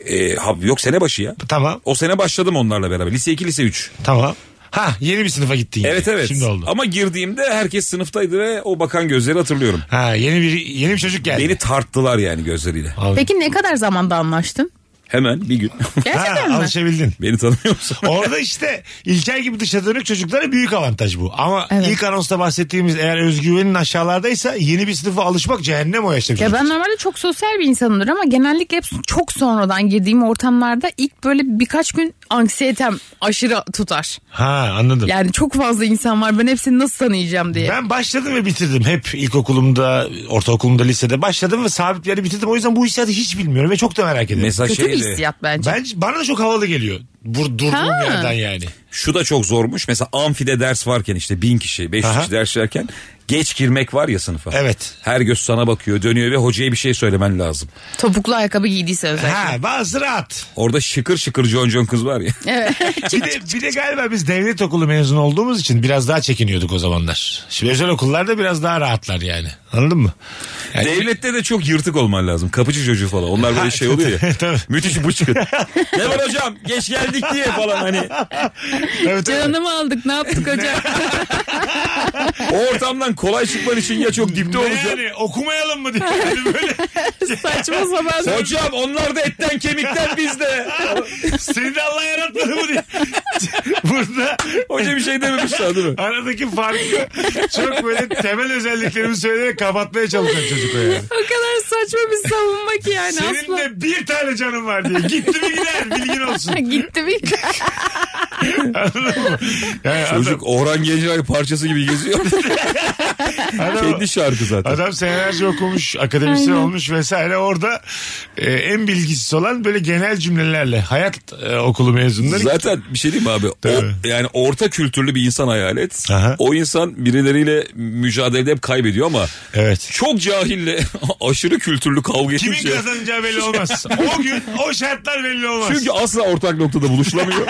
Ee, ha- yok sene başı ya. Tamam. O sene başladım onlarla beraber. Lise 2, lise 3. Tamam. Ha yeni bir sınıfa gittin. yine. Evet evet. Şimdi oldu. Ama girdiğimde herkes sınıftaydı ve o bakan gözleri hatırlıyorum. Ha yeni bir yeni bir çocuk geldi. Beni tarttılar yani gözleriyle. Peki ne kadar zamanda anlaştın? Hemen bir gün. ha, Gerçekten mi? alışabildin. Beni tanımıyor musun? Orada işte İlker gibi dışa dönük çocuklara büyük avantaj bu. Ama Evet. ilk anonsta bahsettiğimiz eğer özgüvenin aşağılardaysa yeni bir sınıfa alışmak cehennem o yaşta. bir Ya çocuk. ben normalde çok sosyal bir insanımdır ama genellikle hep çok sonradan girdiğim ortamlarda ilk böyle birkaç gün anksiyetem aşırı tutar. Ha anladım. Yani çok fazla insan var ben hepsini nasıl tanıyacağım diye. Ben başladım ve bitirdim. Hep ilkokulumda, ortaokulumda, lisede başladım ve sabit bir yerde bitirdim. O yüzden bu hissiyatı hiç bilmiyorum ve çok da merak ediyorum. Mesela Kötü bir şeydi, hissiyat bence. Ben, bana da çok havalı geliyor. Bur, durduğum Ha. yerden yani. şu da çok zormuş. Mesela amfide ders varken işte bin kişi, beş yüz Aha. kişi ders verken geç girmek var ya sınıfa. Evet. Her göz sana bakıyor, dönüyor ve hocaya bir şey söylemen lazım. Topuklu ayakkabı giydiyse özellikle. Ha, bazı rahat. Orada şıkır şıkır John John kız var ya. Evet. Bir de, bir de galiba biz devlet okulu mezunu olduğumuz için biraz daha çekiniyorduk o zamanlar. Şimdi özel okullarda biraz daha rahatlar yani. Anladın mı? Yani- Devlette de çok yırtık olman lazım. Kapıcı çocuğu falan. Onlar böyle şey oluyor ya. Tabii. müthiş bıçkın. ne var hocam? Geç geldik diye falan hani. Tabii, tabii. Canımı aldık ne yaptık hocam? O ortamdan kolay çıkman için ya çok dipte Ne olacaksın. yani okumayalım mı diye. Yani böyle Saçma sapan. Hocam onlar da etten kemikten bizde. seni de Allah yaratmadı mı diye. Burada Hoca bir şey dememiş daha değil mi? aradaki farkı çok böyle temel özelliklerimi söyleyerek kapatmaya çalışan çocuk o yani. O kadar saçma bir savunma ki yani Senin asla. de bir tane canın var diye. Gitti mi gider bilgin olsun. Gitti bir Anladın mı? Yani Çocuk Orhan Gencebay parçası gibi geziyor. Kendi şarkı zaten. Adam senelerce okumuş, akademisyen olmuş vesaire. Orada e, en bilgisiz olan böyle genel cümlelerle hayat e, okulu mezunları. Zaten bir şey diyeyim mi abi? O, Tabii. yani orta kültürlü bir insan hayal et. Aha. O insan birileriyle mücadelede hep kaybediyor ama Evet. çok cahille aşırı kültürlü kavga Kimin etmiş. ya. kazanacağı belli olmaz. O gün o şartlar belli olmaz. Çünkü asla ortak noktada buluşulamıyor.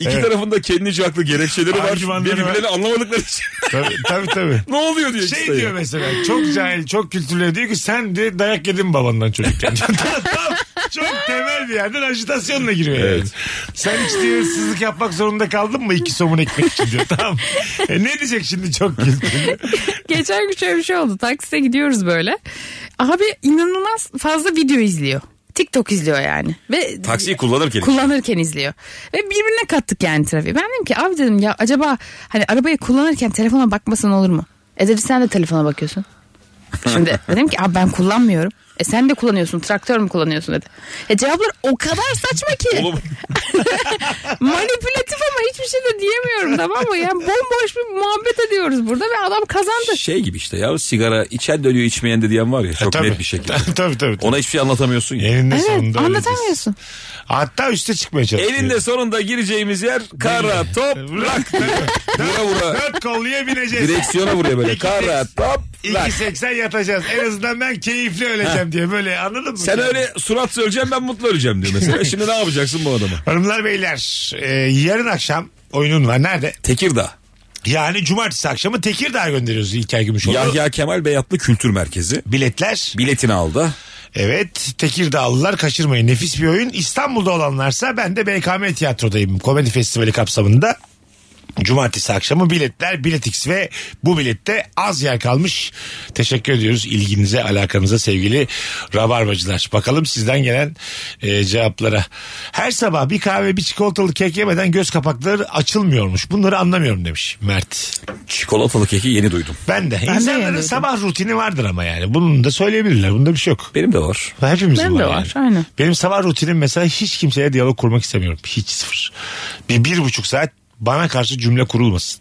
İki tarafında kendince haklı gerekçeleri var. Argümanları var. Birbirlerini anlamadıkları için. tabii tabii. tabii. ne oluyor diyor Şey işte ya. diyor mesela çok cahil çok kültürlü diyor ki sen de dayak yedin babandan çocukken. Tam- tam çok temel bir yerden ajitasyonla giriyor. yani. Evet. Sen hiç diyor hırsızlık yapmak zorunda kaldın mı iki somun ekmek için diyor. Tamam. E ne diyecek şimdi çok kültürlü. Geçen gün şöyle bir şey oldu. Takside gidiyoruz böyle. Abi inanılmaz fazla video izliyor. TikTok izliyor yani. Ve Taksiyi kullanırken. kullanırken izliyor. Ve birbirine kattık yani trafiği. Ben dedim ki abi dedim ya acaba hani arabayı kullanırken telefona bakmasan olur mu? E dedi sen de telefona bakıyorsun. Şimdi dedim ki abi ben kullanmıyorum. E sen de kullanıyorsun traktör mü kullanıyorsun dedi. E cevaplar o kadar saçma ki. Oğlum Manipülatif ama hiçbir şey de diyemiyorum tamam mı? Yani bomboş bir muhabbet ediyoruz burada ve adam kazandı. şey gibi işte ya sigara içen dönüyor içmeyen de diyen var ya çok E, Tabii. E, net bir şekilde. tabii tabii. tabii. Ona hiçbir şey anlatamıyorsun ya. Eninde Evet sonunda öyledir. anlatamıyorsun. Hatta üste çıkmaya çalışıyor. Elinde sonunda gireceğimiz yer kara toprak. vura vura. Dört kolluya bineceğiz. Direksiyona vuruyor böyle. Kara toprak. 2.80 yatacağız. En azından ben keyifli öleceğim diye böyle anladın mı? Sen öyle surat öleceğim ben mutlu öleceğim diyor mesela. Şimdi ne yapacaksın bu adama? Hanımlar beyler e, yarın akşam oyunun var. Nerede? Tekirdağ. Yani cumartesi akşamı Tekirdağ gönderiyoruz İlker Gümüşoğlu. Yahya Kemal Beyatlı Kültür Merkezi. Biletler. Biletini aldı. Evet Tekirdağlılar kaçırmayın. Nefis bir oyun. İstanbul'da olanlarsa ben de BKM Tiyatro'dayım. Komedi Festivali kapsamında. Cumartesi akşamı biletler Biletix ve bu bilette az yer kalmış. Teşekkür ediyoruz ilginize alakanıza sevgili rabarbacılar. Bakalım sizden gelen e, cevaplara. Her sabah bir kahve bir çikolatalı kek yemeden göz kapakları açılmıyormuş. Bunları anlamıyorum demiş Mert. Çikolatalı keki yeni duydum. Ben de. de İnsanların yani. sabah rutini vardır ama yani. Bunun da söyleyebilirler. Bunda bir şey yok. Benim de var. Hepimizin Benim var. de yani. var, aynen. Benim sabah rutinim mesela hiç kimseye diyalog kurmak istemiyorum. Hiç sıfır. Bir, bir buçuk saat bana karşı cümle kurulmasın.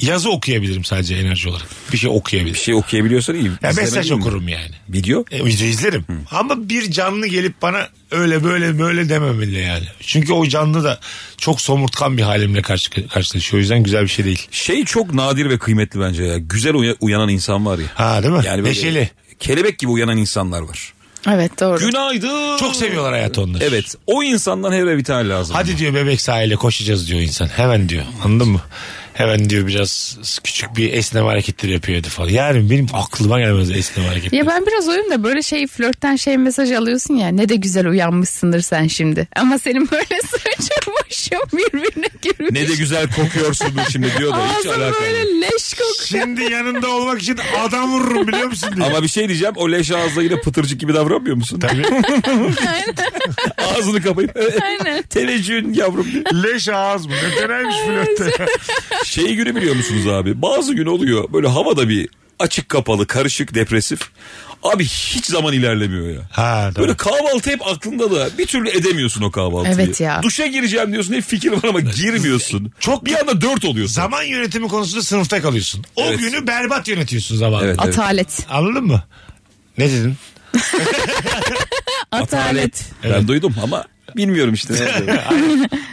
Yazı okuyabilirim sadece enerji olarak. Bir şey Bir okuyabilirim. şey okuyabiliyorsan iyi. Ya İzlemen mesaj iyi mi? okurum yani. Video. E, video izlerim. Ama bir canlı gelip bana öyle böyle böyle dememeli yani. Çünkü o canlı da çok somurtkan bir halimle karşı, karşılaşıyor. O yüzden güzel bir şey değil. Şey çok nadir ve kıymetli bence ya. Güzel uya- uyanan insan var ya. Ha değil mi? Yani böyle Neşeli. Kelebek gibi uyanan insanlar var. Evet doğru. Günaydın. Çok seviyorlar hayatı onları. Evet. O insandan her bir tane lazım. Hadi diyor bebek sahile koşacağız diyor insan. Hemen diyor. Anladın mı? Hemen diyor biraz küçük bir esneme hareketleri yapıyor herif falan. Yani benim aklıma gelmez esneme hareketleri. Ya ben biraz oyum da böyle şey flörtten şey mesaj alıyorsun ya ne de güzel uyanmışsındır sen şimdi. Ama senin böyle saçın başın birbirine girmiş. Ne de güzel kokuyorsun şimdi diyor da hiç Ağzın alakalı. yok. böyle leş kokuyor. Şimdi yanında olmak için adam vururum biliyor musun diyor. Ama bir şey diyeceğim o leş ağızla yine pıtırcık gibi davranmıyor musun? Tabii. Ağzını kapayıp Aynen. televizyon yavrum diyor. Leş ağız mı? Ne deneymiş flörtte. Şey günü biliyor musunuz abi? Bazı gün oluyor böyle havada bir açık kapalı karışık depresif. Abi hiç zaman ilerlemiyor ya. Ha, tabii. Böyle kahvaltı hep aklında da bir türlü edemiyorsun o kahvaltıyı. Evet ya. Duşa gireceğim diyorsun hep fikir var ama girmiyorsun. Çok bir anda dört oluyorsun. Zaman yönetimi konusunda sınıfta kalıyorsun. O Evet. günü berbat yönetiyorsun zamanı. Evet, evet. Atalet. Anladın mı? Ne dedin? Atalet. Ben duydum ama bilmiyorum işte. ne oluyor.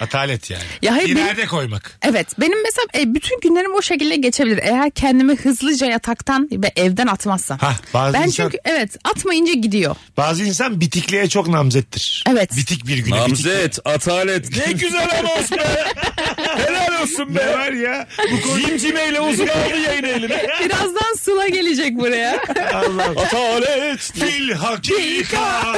Atalet yani. Ya hayır, İleride koymak. Evet benim mesela e, bütün günlerim o şekilde geçebilir. Eğer kendimi hızlıca yataktan ve evden atmazsam. Hah, bazı ben insan- çünkü evet atmayınca gidiyor. Bazı insan bitikliğe çok namzettir. Evet. Bitik bir güne. bitik Namzet, atalet. Ne güzel anons be. Helal olsun Ne be. var ya? Bu konu Cimcimeyle uzun aldı yayın eline. Birazdan Sıla gelecek buraya. Atalet. fil hakika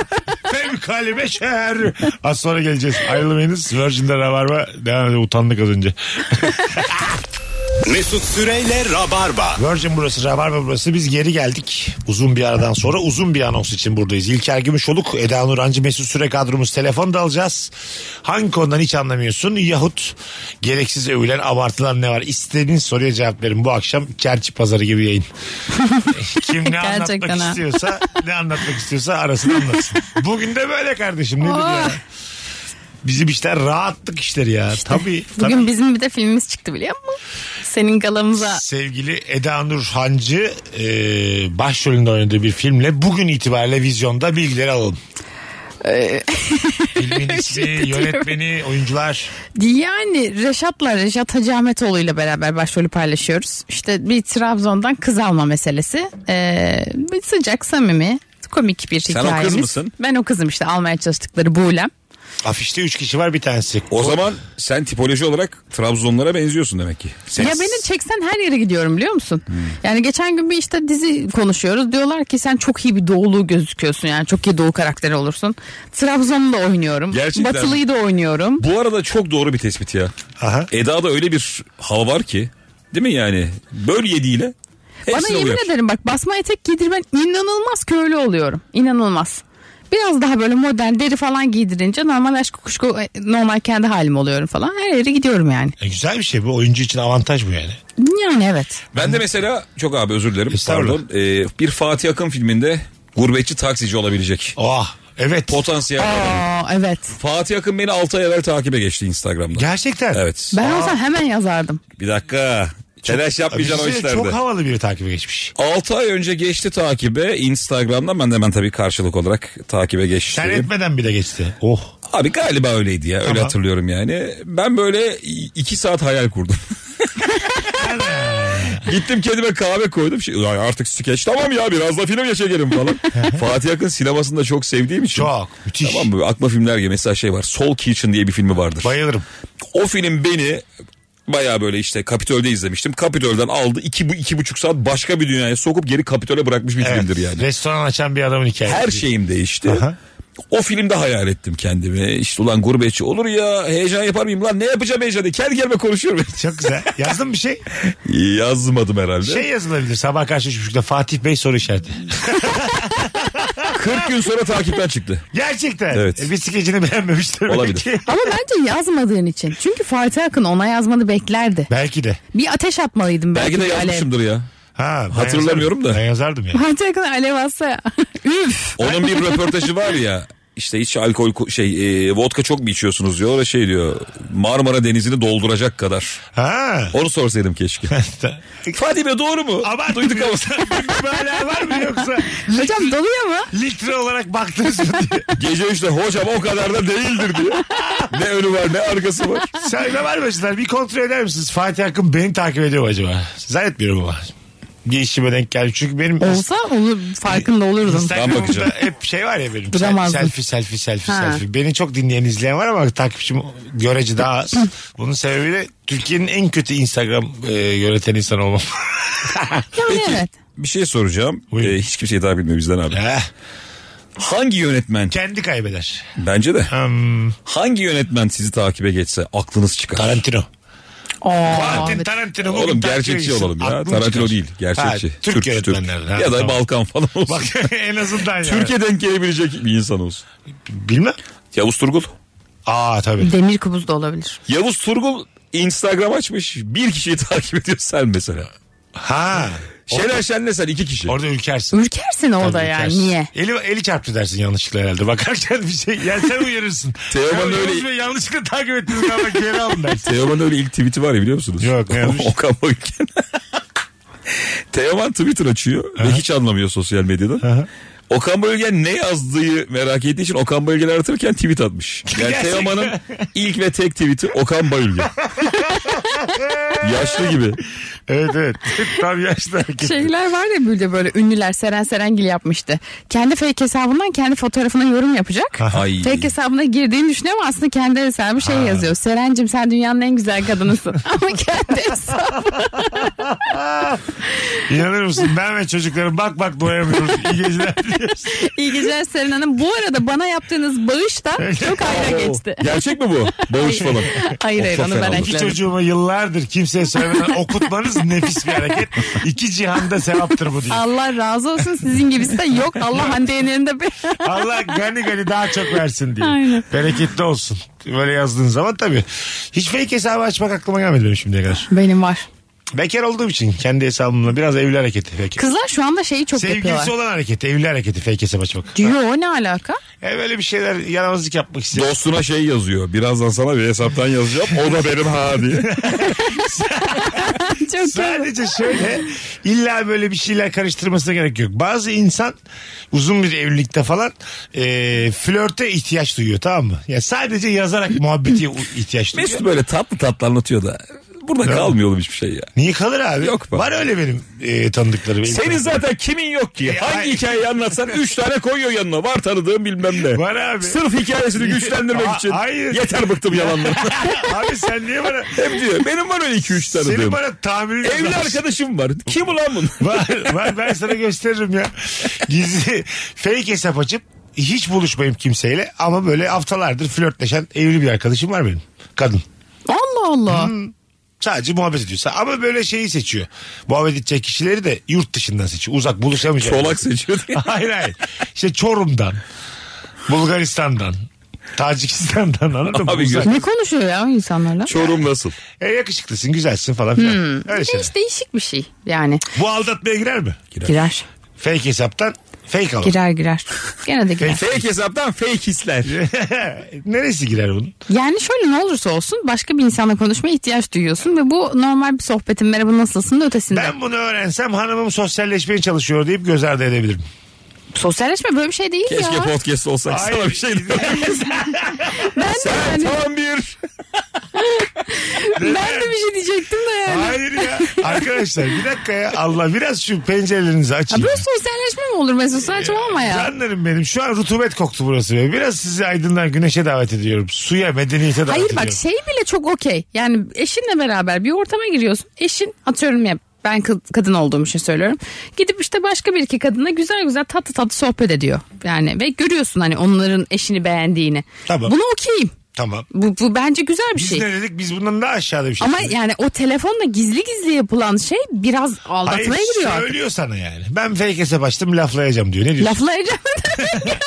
fevkal beşer. Az sonra geleceğiz. Ayrılmayınız. Virgin'de Rabarba devam ediyor. Utandık az önce. Mesut Süreyle Rabarba. Virgin burası, Rabarba burası. Biz geri geldik. Uzun bir aradan sonra uzun bir anons için buradayız. İlker Gümüşoluk, Eda Nurancı, Mesut Süre kadromuz. Telefon da alacağız. Hangi konudan hiç anlamıyorsun? Yahut gereksiz övülen, abartılan ne var? İstediğiniz soruya cevap verin. Bu akşam Kerçi Pazarı gibi yayın. Kim ne anlatmak Gerçekten ha. istiyorsa, ne anlatmak istiyorsa arasını anlatsın. Bugün de böyle kardeşim. Nedir Oh. ya? Bizim işler rahatlık işleri ya. tabii. Bugün tabii. bizim bir de filmimiz çıktı biliyor musun? Senin galamıza Sevgili Eda Nur Hancı e, başrolünde oynadığı bir filmle bugün itibariyle vizyonda bilgileri alalım. Filmin ismi, yönetmeni, oyuncular. Yani Reşat'la Reşat Hacı Ahmetoğlu ile beraber başrolü paylaşıyoruz. İşte bir Trabzon'dan kız alma meselesi. Ee, bir sıcak, samimi, komik bir o kız hikayemiz. mısın? Ben o kızım işte almaya çalıştıkları Buğlem. Afişte 3 kişi var bir tanesi. O zaman sen tipoloji olarak Trabzonlara benziyorsun demek ki. Sen- Ya beni çeksen her yere gidiyorum biliyor musun? Hmm. Yani geçen gün bir işte dizi konuşuyoruz. Diyorlar ki sen çok iyi bir doğulu gözüküyorsun. Yani çok iyi doğu karakteri olursun. Trabzon'u da oynuyorum. Gerçekten mi? Batılı'yı da oynuyorum. Bu arada çok doğru bir tespit ya. Aha. Eda'da öyle bir hava var ki. Değil mi yani? Böl yediğiyle Bana hepsine yemin uyar. ederim bak basma etek giydirmen inanılmaz köylü oluyorum. İnanılmaz. Biraz daha böyle modern deri falan giydirince normal aşk kuşku e, normal kendi halim oluyorum falan. Her yere gidiyorum yani. E, güzel bir şey bu. Oyuncu için avantaj bu yani. Yani evet. Ben de mesela çok abi özür dilerim. Estağfurullah. Pardon. Ee, bir Fatih Akın filminde gurbetçi taksici olabilecek. Oh, evet. Potansiyel. Aa, evet. Fatih Akın beni 6 ay evvel takibe geçti Instagram'da. Gerçekten. Evet. Ben olsam hemen yazardım. Bir dakika. Telaş yapmayacaksın o Bizi de Çok işlerde. havalı biri takibe geçmiş. 6 ay önce geçti takibe Instagram'dan ben de hemen tabii karşılık olarak takibe geçtim. Sen etmeden bile geçti. Oh. Abi galiba öyleydi ya öyle Tamam. hatırlıyorum yani. Ben böyle 2 saat hayal kurdum. Gittim kendime kahve koydum. Şey, "Ulan artık skeç tamam ya biraz da filme çekelim falan. Fatih Akın sinemasını da çok sevdiğim için. Çok, müthiş. Tamam mı? Akma filmler gibi mesela şey var. Soul Kitchen diye bir filmi vardır. Bayılırım. O film beni baya böyle işte Kapitol'de izlemiştim. Kapitol'den aldı iki, bu- iki buçuk saat başka bir dünyaya sokup geri Kapitol'e bırakmış bir Evet. filmdir yani. Restoran açan bir adamın hikayesi. Her şey. şeyim değişti. Aha. O filmde hayal ettim kendimi. İşte ulan gurbetçi olur ya heyecan yapar mıyım lan ne yapacağım heyecanı kendi kendime konuşuyorum. Çok güzel. Yazdın mı bir şey? Yazmadım herhalde. Şey yazılabilir. Sabah karşı üç buçukta Fatih Bey soru işareti. 40 gün sonra takipten çıktı. Gerçekten. Evet. E, bir skecini beğenmemiştir. Olabilir. Belki. Ama bence yazmadığın için. Çünkü Fatih Akın ona yazmanı beklerdi. belki de. Bir ateş atmalıydım belki. Belki de bir alev. yazmışımdır ya. Ha, ben Hatırlamıyorum yazardım. da. Ben yazardım ya. Fatih Akın alev atsa üf. Onun bir röportajı var ya. İşte hiç alkol ku- şey e, vodka çok mu içiyorsunuz diyor. O da şey diyor Marmara Denizi'ni dolduracak kadar. Ha. Onu sorsaydım keşşke. Fatih Bey doğru mu? Abartmıyor. Duyduk ama. Böyle var mı yoksa? Hocam doluyor mu? Litre olarak baktınız mı diye. Gece işte hocam o kadar da değildir diyor. ne önü var ne arkası var. Söyle var başlar. Bir kontrol eder misiniz? Fatih Akın beni takip ediyor mu acaba? Zannetmiyorum ama. Bir işime denk geldi. Çünkü benim Olsa onu farkında olurdum. Ben bakacağım. Instagram'da hep şey var ya benim. sel- Duramazdım. Selfie selfie selfie Ha. selfie. Beni çok dinleyen izleyen var ama takipçim görece daha az. Bunun sebebiyle Türkiye'nin en kötü Instagram e, yöneten insan olmam. Yani evet. Bir şey soracağım. Buyurun. Ee, hiç kimseyi daha bilmiyor bizden abi. Eh, Hangi yönetmen? Kendi kaybeder. Bence de. Hmm, Hangi yönetmen sizi takibe geçse aklınız çıkar? Tarantino. Aa, Martin evet. Tarantino. bugün Oğlum takip gerçekçi edilsin. olalım ya. şey Aklım Tarantino çıkar. değil. Gerçekçi. Ha, Türk yönetmenlerden. Ha, Ya da tamam. Balkan falan olsun. Bak en azından ya. Türkiye denk gelebilecek bir insan olsun. Bilmem. Yavuz Turgul. Aa tabii. Demir kubuz da olabilir. Yavuz Turgul Instagram açmış. Bir kişiyi takip ediyor sen mesela. Ha. Şener Şen'le sen iki kişi. Orada ürkersin. Ürkersin Tabii orada yani. ürkersin. Niye? Eli, eli çarptı dersin yanlışlıkla herhalde. Bakarken bir şey. Yani sen uyarırsın. Teoman Ya, öyle- Yavuz Bey, Yanlışlıkla takip ettiniz galiba geri alın dersin. Teoman'ın öyle ilk tweet'i var ya biliyor musunuz? Yok, ne yazmış? Okan Bayülgen. Teoman Twitter açıyor ve hiç anlamıyor sosyal medyadan. Okan Bayülgen ne yazdığı merak ettiği için Okan Bayülgen aratırken tweet atmış. Yani Gerçekten. Teoman'ın ilk ve tek tweet'i Okan Bayülgen. Yaşlı gibi. Evet evet. Tam yaşlı hareket. Şeyler var ya böyle böyle ünlüler Seren Serengil yapmıştı. Kendi fake hesabından kendi fotoğrafına yorum yapacak. Ay. Fake hesabına girdiğini düşünüyor ama aslında kendi hesabı şey yazıyor. Serencim sen dünyanın en güzel kadınısın. ama kendi hesabı. İnanır mısın? Ben ve çocuklarım bak bak doyamıyoruz. İyi geceler diliyoruz. İyi geceler Seren Hanım. Bu arada bana yaptığınız bağış da çok ayrı geçti. Gerçek mi bu? Bağış falan. Hayır Of, hayır çok onu fena ben oldu. İki ekledim. çocuğumu yıllardır kimseye söylemeden okutmanız nefis bir hareket. İki cihanda sevaptır bu diye. Allah razı olsun sizin gibisi de yok. Allah Hande Yener'in de bir- Allah gani gani daha çok versin diye. Aynen. Bereketli olsun. Böyle yazdığın zaman tabii. Hiç fake hesabı açmak aklıma gelmedi benim şimdiye kadar. Benim var. Bekar olduğum için kendi hesabımla biraz evli hareketi. Fake. Kızlar şu anda şeyi çok Sevgilisi yapıyorlar. olan hareketi, evli hareketi fake hesap açmak. Diyor ne alaka? E böyle bir şeyler yaramazlık yapmak istiyor. Dostuna şey yazıyor. Birazdan sana bir hesaptan yazacağım. O da benim ha diye. çok iyi. Sadece şöyle illa böyle bir şeyler karıştırmasına gerek yok. Bazı insan uzun bir evlilikte falan e, flörte ihtiyaç duyuyor tamam mı? Ya sadece yazarak muhabbeti ihtiyaç duyuyor. Mesut böyle tatlı tatlı anlatıyor da. Burada kalmıyor oğlum hiçbir şey ya. Niye kalır abi? Yok be. Var öyle benim e, tanıdıklarım. Senin zaten kimin yok ki? ay- Hangi hikayeyi anlatsan 3 tane koyuyor yanına. Var tanıdığım bilmem ne. Var abi. Sırf hikayesini güçlendirmek Aa, için. hayır. Yeter bıktım yalanları. abi sen niye bana... Hep diyor. Benim var öyle 2-3 Senin tanıdığım. bana tahminin Evli yok. arkadaşım var. Kim ulan bunun? Var, var ben sana gösteririm ya. Gizli fake hesap açıp hiç buluşmayayım kimseyle ama böyle haftalardır flörtleşen evli bir arkadaşım var benim. Kadın. Allah Allah. Sadece muhabbet ediyorsa ama böyle şeyi seçiyor. Muhabbet edecek kişileri de yurt dışından seçiyor. Uzak buluşamayacak. Çolak seçiyor diye. hayır hayır. İşte Çorum'dan, Bulgaristan'dan, Tacikistan'dan anladın mı? Abi Uzak. gö- Ne konuşuyor ya insanlarla? Çorum nasıl? E, yakışıklısın, güzelsin falan filan. Hmm. Öyle şeyler. Hiç değişik bir şey yani. Bu aldatmaya girer mi? Girer. Fake hesaptan fake alalım. Girer girer. Gene de girer. Fake hesaptan fake hisler. Neresi girer bunun? Yani şöyle ne olursa olsun başka bir insanla konuşmaya ihtiyaç duyuyorsun ve bu normal bir sohbetin merhaba nasılsın da ötesinde. Ben bunu öğrensem hanımım sosyalleşmeye çalışıyor deyip göz ardı edebilirim. Sosyalleşme böyle bir şey değil Keşke ya. podcast olsak Hayır. sana bir şey Ben de, yani, Tam bir. ben de bir şey diyecektim de yani. Hayır ya. Arkadaşlar bir dakika ya. Allah biraz şu pencerelerinizi Ya açın. böyle sosyalleşme mi olur Mesut? Saçmalama ya. Canlarım benim şu an rutubet koktu burası. Be. Biraz sizi aydınlan güneşe davet ediyorum. Suya, medeniyete davet Hayır ediyorum. bak şey bile çok okey. Yani eşinle beraber bir ortama giriyorsun. Eşin atıyorum ya ben kı- kadın olduğum için söylüyorum. Gidip işte başka bir iki kadına güzel güzel tatlı tatlı sohbet ediyor. Yani ve görüyorsun hani onların eşini beğendiğini. Tamam. Bunu okeyim. Tamam. Bu, bu bence güzel bir Biz şey. ne dedik? Biz bundan daha aşağıda bir şey. Ama söyledik. yani o telefonla gizli gizli yapılan şey biraz Hayır, aldatmaya giriyor. artık. söylüyor sana yani. Ben fake hesap açtım laflayacağım diyor. Ne diyorsun? Lafla edemem.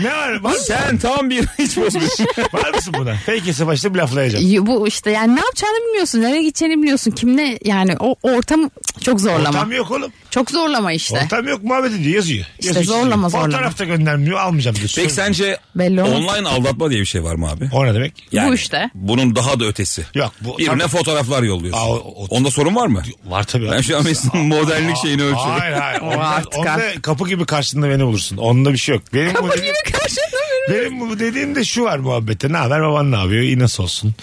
Ne var? Var, Sen tam bir hiç bozmuyorsun. var mısın buna? Fake hesap açtım laflayacağım. bu işte yani ne yapacağını bilmiyorsun. Nereye gideceğini bilmiyorsun. Kimle yani o ortam çok zorlama. Ortam yok oğlum. Çok zorlama işte. Ortam yok muhabbet ediyor yazıyor. İşte yazıyor, çiziyor. zorlama, zorlama. Fotoğrafta göndermiyor almayacağım diyor. Peki sence Belli olmaz. online aldatma diye bir şey var mı abi? O ne demek? Bu işte. Bunun daha da ötesi. Yok, bu- Birine tabii. fotoğraflar yolluyorsun. Aa, o- o- Onda sorun var mı? Var tabii. Ben şu an Mesut'un modellik şeyini ölçüyorum. Hayır hayır. O Onda, artık onda kapı gibi karşında beni bulursun. Onda bir şey yok. Benim bu Kapı dediğim, gibi karşında beni. benim bu dediğim de şu var muhabbette. Ne haber baban ne yapıyor? İyi nasıl olsun?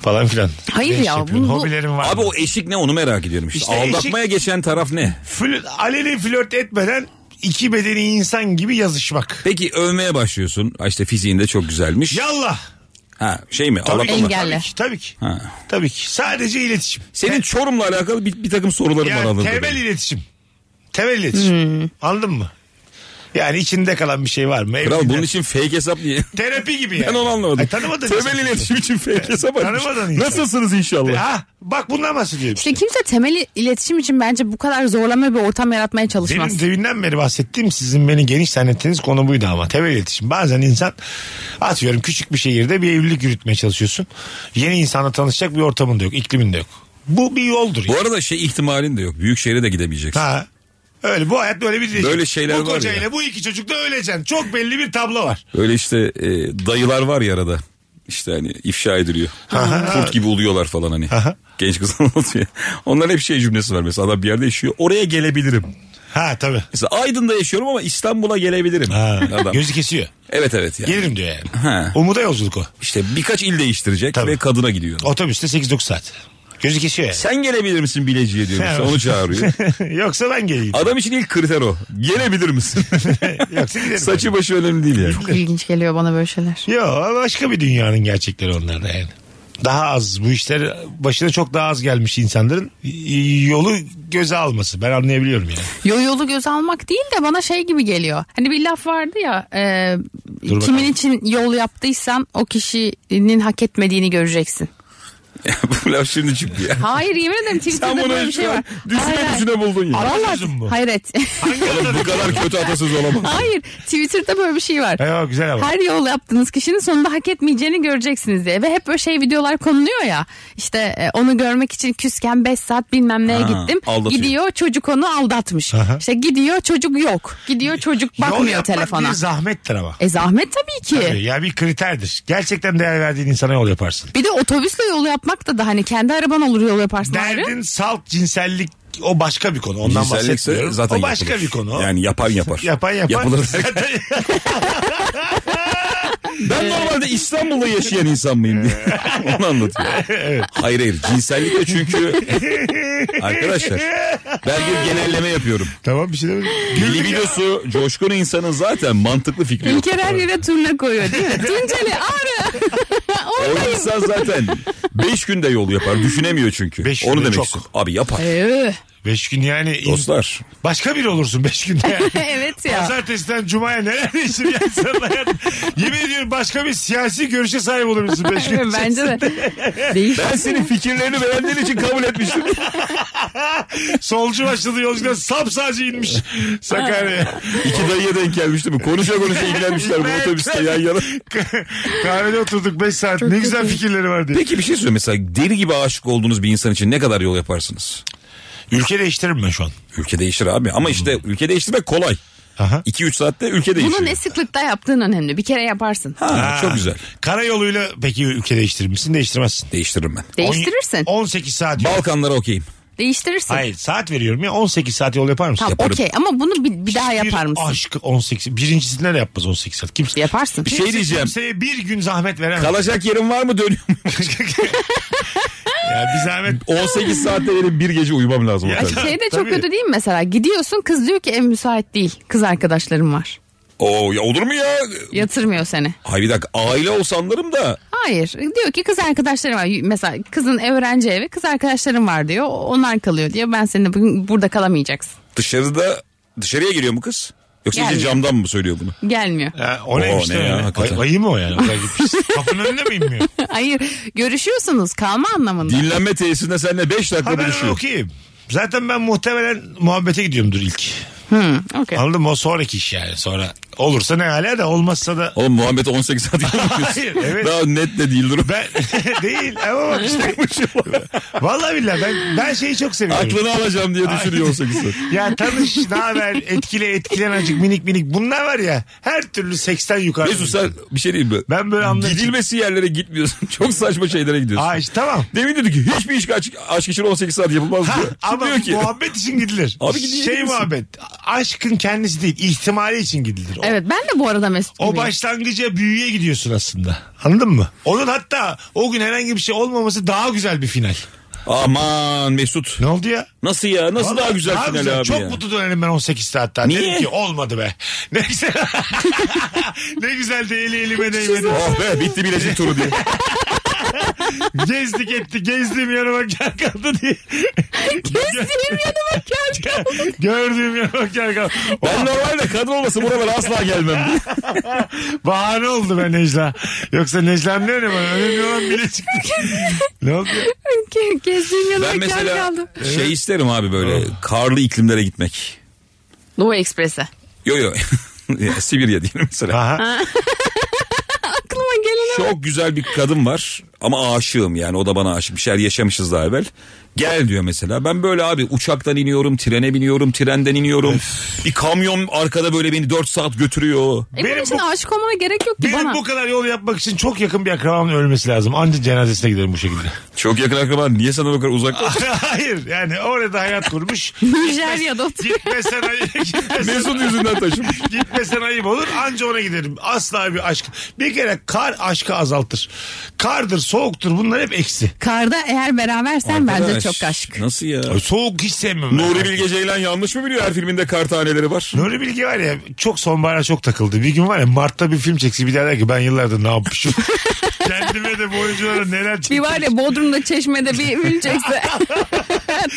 Falan filan. Hayır Ne iş ya, yapıyorsun? bu- bu- Hobilerim var. Abi mı? o eşik ne onu merak ediyorum işte. İşte Aldatmaya geçen taraf ne? Flört- aleni flört etmeden iki medeni insan gibi yazışmak. Peki övmeye başlıyorsun. Ha işte fiziğinde çok güzelmiş. Yallah. Ha şey mi? Tabii Aldatma ki. mı? Engel. Engelle. Tabii ki. Tabii ki. Ha. Tabii ki. Sadece iletişim. Senin Çorum'la alakalı bir, bir takım sorularım var Yani anladın temel iletişim. Temel iletişim. Anladın mı? Yani içinde kalan bir şey var mı? Kral Evliliğe- bunun için fake hesap niye? Terapi gibi yani. Ben onu anlamadım. Ay, E, tanımadın Temel insan. iletişim için fake hesap açmış. Tanımadın insan. Nasılsınız inşallah? Ha, bak bundan bahsediyorum. İşte kimse temel iletişim için bence bu kadar zorlama bir ortam yaratmaya çalışmaz. Benim deminden beri bahsettiğim sizin beni geniş zannettiğiniz konu buydu ama temel iletişim. Bazen insan atıyorum küçük bir şehirde bir evlilik yürütmeye çalışıyorsun. Yeni insanla tanışacak bir ortamın da yok, iklimin de yok. Bu bir yoldur. Bu Yani. arada şey ihtimalin de yok. Büyük şehre de gidemeyeceksin. Ha. Öyle bu hayat böyle bir değil. Böyle şeyler bu var kocayla ya. bu iki çocukla öleceksin. Çok belli bir tablo var. Öyle işte e, dayılar var ya arada. İşte hani ifşa ediliyor. Kurt gibi oluyorlar falan hani. Aha. Genç kız anlatıyor. Onların hep şey cümlesi var mesela. Adam bir yerde yaşıyor. Oraya gelebilirim. Ha tabii. Mesela Aydın'da yaşıyorum ama İstanbul'a gelebilirim. Ha. Adam. Gözü kesiyor. Evet evet yani. Gelirim diyor yani. Ha. Umuda yolculuk o. İşte birkaç il değiştirecek Tabii. ve kadına gidiyor. Otobüste 8-9 saat. Gözü kesiyor yani. Sen gelebilir misin Bileci'ye diyor mesela. Onu çağırıyor. Yoksa ben geleyim. Adam için ilk kriter o. Gelebilir misin? Yoksa giderim. Saçı başı önemli değil yani. Çok ilginç geliyor bana böyle şeyler. Yo başka bir dünyanın gerçekleri onlar da yani. Daha az bu işler başına çok daha az gelmiş insanların y- yolu göze alması. Ben anlayabiliyorum yani. Yo yolu göz almak değil de bana şey gibi geliyor. Hani bir laf vardı ya e, kimin bakalım. için yol yaptıysan o kişinin hak etmediğini göreceksin. Bu laf şimdi çıktı ya. Hayır yemin ederim Sen Twitter'da böyle bunu bir şey şu var. an düşme Hayır, hayır. düşüne buldun ya. Atasözü mü Vallahi bu? hayret. Oğlum bu kadar kötü atasız olamaz. hayır Twitter'da böyle bir şey var. Eyvah güzel ama. Her yol yaptığınız kişinin sonunda hak etmeyeceğini göreceksiniz diye. Ve hep böyle şey videolar konuluyor ya. İşte e, onu görmek için küsken 5 saat bilmem neye Ha, gittim. aldatıyor. Gidiyor çocuk onu aldatmış. Aha. İşte gidiyor çocuk yok. Gidiyor çocuk Yol bakmıyor yapmak telefona. bir zahmettir ama. E zahmet tabii ki. Tabii, ya bir kriterdir. Gerçekten değer verdiğin insana yol yaparsın. Bir de otobüsle yol yapmak da da hani kendi araban olur yol yaparsın ayrı. Derdin salt cinsellik o başka bir konu. Ondan Cinsellikse bahsetmiyorum. zaten o başka yapılır. bir konu. Yani yapan yapar. yapan yapar. Yapılır. Zaten- Ben normalde İstanbul'da yaşayan insan mıyım diye. Onu anlatıyor. Hayır hayır cinsellikle çünkü arkadaşlar ben bir genelleme yapıyorum. tamam bir şey demedim. Libidosu coşkun insanın zaten mantıklı fikri yok. İlker her yere turna koyuyor değil mi? Tunceli ah! ağrı. O Oradayım. insan zaten 5 günde yol yapar. Düşünemiyor çünkü. Beş Onu günde demek çok. istiyorum. Abi yapar. Ee, Beş gün yani. in- Dostlar. Başka biri olursun beş günde yani. evet ya. Pazartesiden cumaya neler değişir ya insanın hayatı. Yemin ediyorum başka bir siyasi görüşe sahip olabilirsin beş gün Bence de. Değil. Ben senin fikirlerini beğendiğin için kabul etmiştim. Solcu başladı yolcudan sapsacı inmiş Sakarya'ya. İki dayıya denk gelmişti mi? Konuşa konuşa ilgilenmişler bu otobüste yan yana. Kahvede oturduk 5 saat. ne güzel fikirleri var diye. Peki bir şey söyleyeyim. Mesela deli gibi aşık olduğunuz bir insan için ne kadar yol yaparsınız? Ülke değiştiririm ben şu an. Ülke değişir abi Hmm. ama işte ülke değiştirmek kolay. Aha. 2-3 saatte ülke değişiyor. Bunu ne sıklıkta yaptığın önemli. Bir kere yaparsın. Ha, çok güzel. Karayoluyla peki ülke değiştirir misin? Değiştirmezsin. Değiştiririm ben. Değiştirirsin. On- 18 saat. yol. Balkanlara okeyim. Değiştirirsin. Hayır saat veriyorum ya 18 saat yol yapar mısın? Tamam Yaparım. okey ama bunu bir, bir daha Hiçbir yapar mısın? Aşk 18. Birincisinde de yapmaz 18 saat. Kimse, Yaparsın. Bir şey diyeceğim. kimseye bir gün zahmet veremez. Kalacak yerim var mı dönüyor mu? ya bir zahmet. 18 saatte benim bir gece uyumam lazım. Ya- otelde. Şey de çok Tabii. kötü değil mi mesela? Gidiyorsun kız diyor ki ev müsait değil. Kız arkadaşlarım var. Oo ya olur mu ya? Yatırmıyor seni. Hayır bir dakika aile olsanlarım da Hayır. Diyor ki kız arkadaşlarım var. Mesela kızın öğrenci evi kız arkadaşlarım var diyor. Onlar kalıyor diyor. Ben seninle bugün burada kalamayacaksın. dışarıda dışarıya giriyor mu kız? Yoksa iyice Gelmiyor. camdan mı söylüyor bunu? Gelmiyor. Ya, o neymiş ne değil mi? ya, hakikaten. Ay, ayı mı o yani? O kadar gitmiş. Kapının önüne mi inmiyor? Hayır. Görüşüyorsunuz kalma anlamında. Dinlenme tesisinde seninle 5 dakika Ha ben onu buluşuyor. okuyayım. Zaten ben muhtemelen muhabbete gidiyorumdur ilk. Okey. Anladın mı? O sonraki iş yani. Sonra olursa ne hala da olmazsa da Oğlum Muhammed'e 18 saat yapıyorsun. Hayır, evet. Daha net de değil durum. ben değil ama bak işte. Vallahi billahi ben, ben şeyi çok seviyorum. Aklını alacağım diye düşünüyor 18 saat. Ya tanış, ne haber, etkile, etkilen acık minik minik. Bunlar var ya her türlü seksten yukarı. Mesut sen bir şey diyeyim mi? Ben böyle anlayacağım. Gidilmesi yerlere gitmiyorsun. Çok saçma şeylere gidiyorsun. Aa işte tamam. Demin dedi ki hiçbir iş aşk, aşk için 18 saat yapılmaz Ha, diyor. Kim ama diyor ki? muhabbet için gidilir. Abi gidilir şey misin? muhabbet. Aşkın kendisi değil, ihtimali için gidilir. O, Evet ben de bu arada Mesut o gibiyim. başlangıca büyüye gidiyorsun aslında. Anladın mı? Onun hatta o gün herhangi bir şey olmaması daha güzel bir final. Aman Mesut. Ne oldu ya? Nasıl ya? Nasıl daha Vallahi güzel final abi Çok ya? mutlu dönerim ben 18 saatten. Niye? Dedim ki olmadı be. Ne güzel. ne güzel de eli elime değmedi. Oh be bitti bilecik turu diye. Gezdik etti. Gezdiğim yanıma gel kaldı diye. Gezdiğim yanıma gel. Gördüğüm yanıma gel kaldı. ben normalde kadın olması buralara asla gelmem diye. Bahane oldu be Necla. Yoksa Necla'nın ne önemi var? Önemli olan bile çıktı. ne oldu? Ge- Gezdiğim yanıma Ben gel mesela kaldı. şey isterim abi böyle karlı iklimlere gitmek. Doğu Ekspres'e. Yo yo. Ya, Sibirya diyelim mesela. Aha. Aklıma gelene Çok güzel bir kadın var ama aşığım yani o da bana aşık bir şeyler yaşamışız daha evvel. Gel diyor mesela ben böyle abi uçaktan iniyorum trene biniyorum trenden iniyorum. bir kamyon arkada böyle beni 4 saat götürüyor. E bunun Benim için bu- aşık olmana gerek yok ki Benim bana. bu kadar yol yapmak için çok yakın bir akrabamın ölmesi lazım. Ancak cenazesine giderim bu şekilde. Çok yakın akraban niye sana bu kadar uzak? Hayır yani orada hayat kurmuş. Nijerya'da oturuyor. Gitmesen ayıp, gitmesen, Mesut yüzünden taşımış. gitmesen ayıp olur anca ona giderim. Asla bir aşk. Bir kere kar aşkı azaltır. Kardır soğuktur bunlar hep eksi. Karda eğer berabersen bence Arkadaş, çok aşk. Nasıl ya? Soğuk hiç sevmem. ben. Nuri Bilge Ceylan yanlış mı biliyor her filminde kar taneleri var? Nuri Bilge var ya çok sonbahara çok takıldı. Bir gün var ya Mart'ta bir film çeksin bir daha der ki ben yıllardır ne yapmışım. Kendime de bu oyunculara neler Bir çektim. var ya Bodrum'da çeşmede bir ünecekse.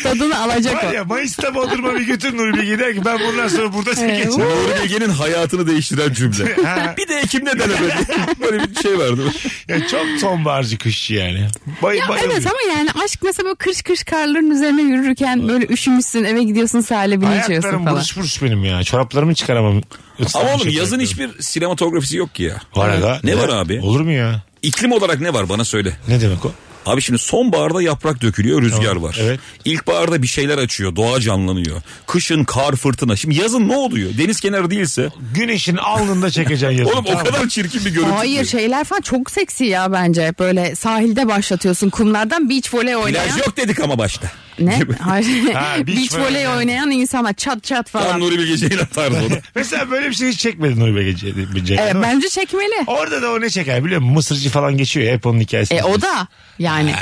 Tadını alacak Var o. ya Mayıs'ta Bodrum'a bir götür Nuri Bilge der ki ben bundan sonra burada geçeceğim. Nuri Bilge'nin hayatını değiştiren cümle. Ha. bir de Ekim'de deneme. Böyle bir şey vardı. Ya çok sonbaharcı kışçı yani. Bay, Ya bayılıyorum. evet ama yani aşk mesela böyle kırış kırış karların üzerine yürürken böyle üşümüşsün eve gidiyorsun sahile bir içiyorsun Ayaklarım falan. buruş buruş benim ya. Çoraplarımı çıkaramam. Ama Islanmış oğlum yazın ayaklarım. hiçbir sinematografisi yok ki ya. Var aga. Ne var abi? Olur mu ya? İklim olarak ne var bana söyle. Ne demek o? Abi şimdi sonbaharda yaprak dökülüyor rüzgar Tamam, var. evet. İlkbaharda bir şeyler açıyor doğa canlanıyor. Kışın kar fırtına. Şimdi yazın ne oluyor? Deniz kenarı değilse. Güneşin alnında çekeceksin yazın. Oğlum o tamam mı? kadar çirkin bir görüntü. Hayır ki. şeyler falan çok seksi ya bence. Böyle sahilde başlatıyorsun kumlardan beach voley oynayan. Plaj yok dedik ama başta. Ne? Hayır. Ha, beach beach, voley. voley oynayan insanlar çat çat Tam falan. Nuri Bilge Ceylan tarzı o da. Mesela böyle bir şey hiç çekmedin Nuri Bilge E, Ceylan. bence çekmeli. Orada da o ne çeker biliyor musun? Mısırcı falan geçiyor ya, hep onun hikayesi. E o da yani.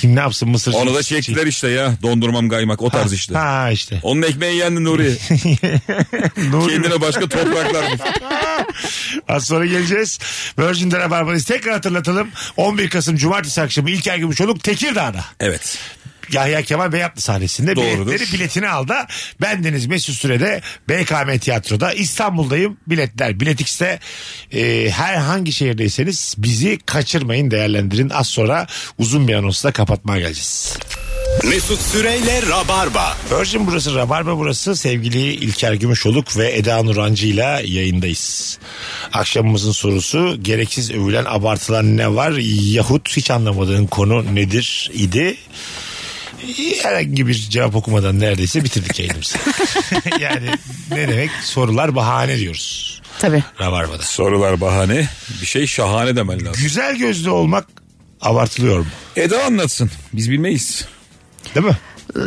Kim ne yapsın mısırcı? Onu da çektiler işte ya. Dondurmam kaymak o tarz işte. Ha işte. Onun ekmeği yendi Nuri. Nuri Kendine başka topraklar bul. Az sonra geleceğiz. Virgin'de Rabarba'dayız. Tekrar hatırlatalım. 11 Kasım Cumartesi akşamı İlker Gümüşoluk Tekirdağ'da. Evet. Yahya Kemal Beyatlı sahnesinde Doğrudur. biletleri biletini aldı. Bendeniz Mesut Süre'de BKM Tiyatro'da İstanbul'dayım. Biletler Bilet X'te. Ee, herhangi şehirdeyseniz bizi kaçırmayın değerlendirin. Az sonra uzun bir anonsla kapatmaya geleceğiz. Mesut Süreyle Rabarba. Virgin burası, Rabarba burası. Sevgili İlker Gümüşoluk ve Eda Nurancı ile yayındayız. Akşamımızın sorusu gereksiz övülen abartılan ne var? Yahut hiç anlamadığın konu nedir idi? Herhangi bir cevap okumadan neredeyse bitirdik yayınımızı. yani ne demek? Sorular bahane diyoruz. Tabii. Rabarba'da. Sorular bahane. Bir şey şahane demen lazım. Güzel gözlü olmak abartılıyor mu? Eda anlatsın. Biz bilmeyiz. Değil mi?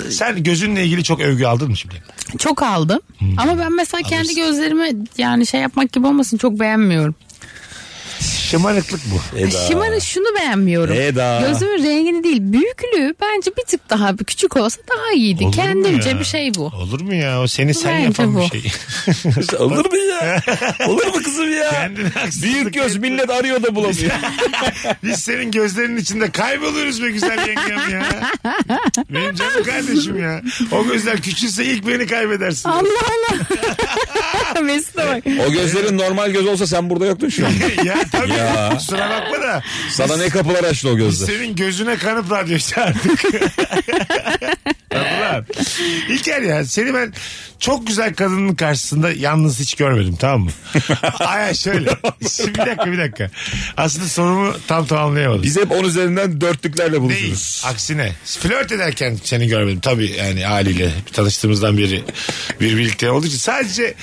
Sen gözünle ilgili çok övgü aldın mı şimdi? Çok aldım. Ama ben mesela kendi Hmm. Alırsın. gözlerimi yani şey yapmak gibi olmasın çok beğenmiyorum. Şımarıklık bu. Şımarı şunu beğenmiyorum. Eda. Gözümün rengini değil büyüklüğü bence bir tık daha bir küçük olsa daha iyiydi. Olur mu ya? Kendimce bir şey bu. Olur mu ya? O seni sen Bence yapan bir bu. şey. Olur mu ya? Olur mu kızım ya? Kendine haksızlık Büyük göz millet arıyor da bulamıyor. Biz senin gözlerinin içinde kayboluyoruz be güzel yengem ya. Benim canım kardeşim ya. O gözler küçülse ilk beni kaybedersin. Allah Allah. Mesut'a bak. o gözlerin normal göz olsa sen burada yoktun şu an. ya tabii. Ya. Kusura bakma da. Sana ne kapılar açtı o biz gözler. Senin gözüne kanıp radyo çağırdık. Ulan. İlker ya seni ben çok güzel kadının karşısında yalnız hiç görmedim tamam mı? Aya şöyle. Şimdi bir dakika bir dakika. Aslında sorumu tam tamamlayamadım. Biz hep on üzerinden dörtlüklerle Değil. buluşuruz. Aksine. Flört ederken seni görmedim. Tabii yani haliyle tanıştığımızdan beri bir birlikte olduğu için. Sadece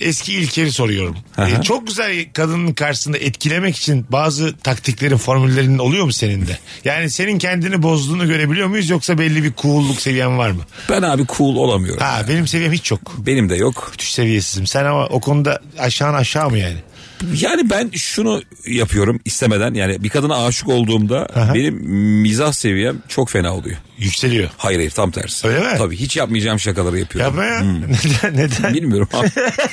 eski İlker'i soruyorum. Ee, çok güzel kadının karşısında etkilemek için bazı taktiklerin, formüllerinin oluyor mu senin de? Yani senin kendini bozduğunu görebiliyor muyuz yoksa belli bir cool'luk seviyen var mı? Ben abi cool olamıyorum. Ha benim seviyem hiç yok. Benim de yok. Düş seviyesizim. Sen ama o konuda aşağın aşağı mı yani? Yani ben şunu yapıyorum istemeden. Yani bir kadına aşık olduğumda benim mizah seviyem çok fena oluyor. Yükseliyor. Hayır hayır tam tersi. Öyle mi? Tabii hiç yapmayacağım şakaları yapıyorum. Yapma ya. Neden? Neden? Bilmiyorum abi.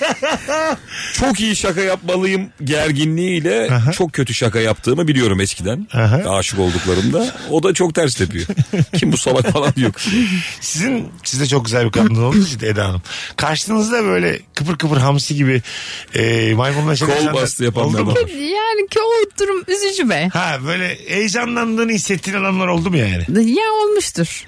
çok iyi şaka yapmalıyım gerginliğiyle çok kötü şaka yaptığımı biliyorum eskiden. Aha. Aşık olduklarımda. O da çok ters tepiyor. Kim bu salak falan diyor. Sizin sizde çok güzel bir kadın olduğunuz için Eda Hanım. Karşınızda böyle kıpır kıpır hamsi gibi e, maymunlaşan Kol insanlar bastı yapan oldu bir mu? adam. Yani ki o durum üzücü be. Ha böyle heyecanlandığını hissettiğin adamlar oldu mu yani? E, Ya olmuştur.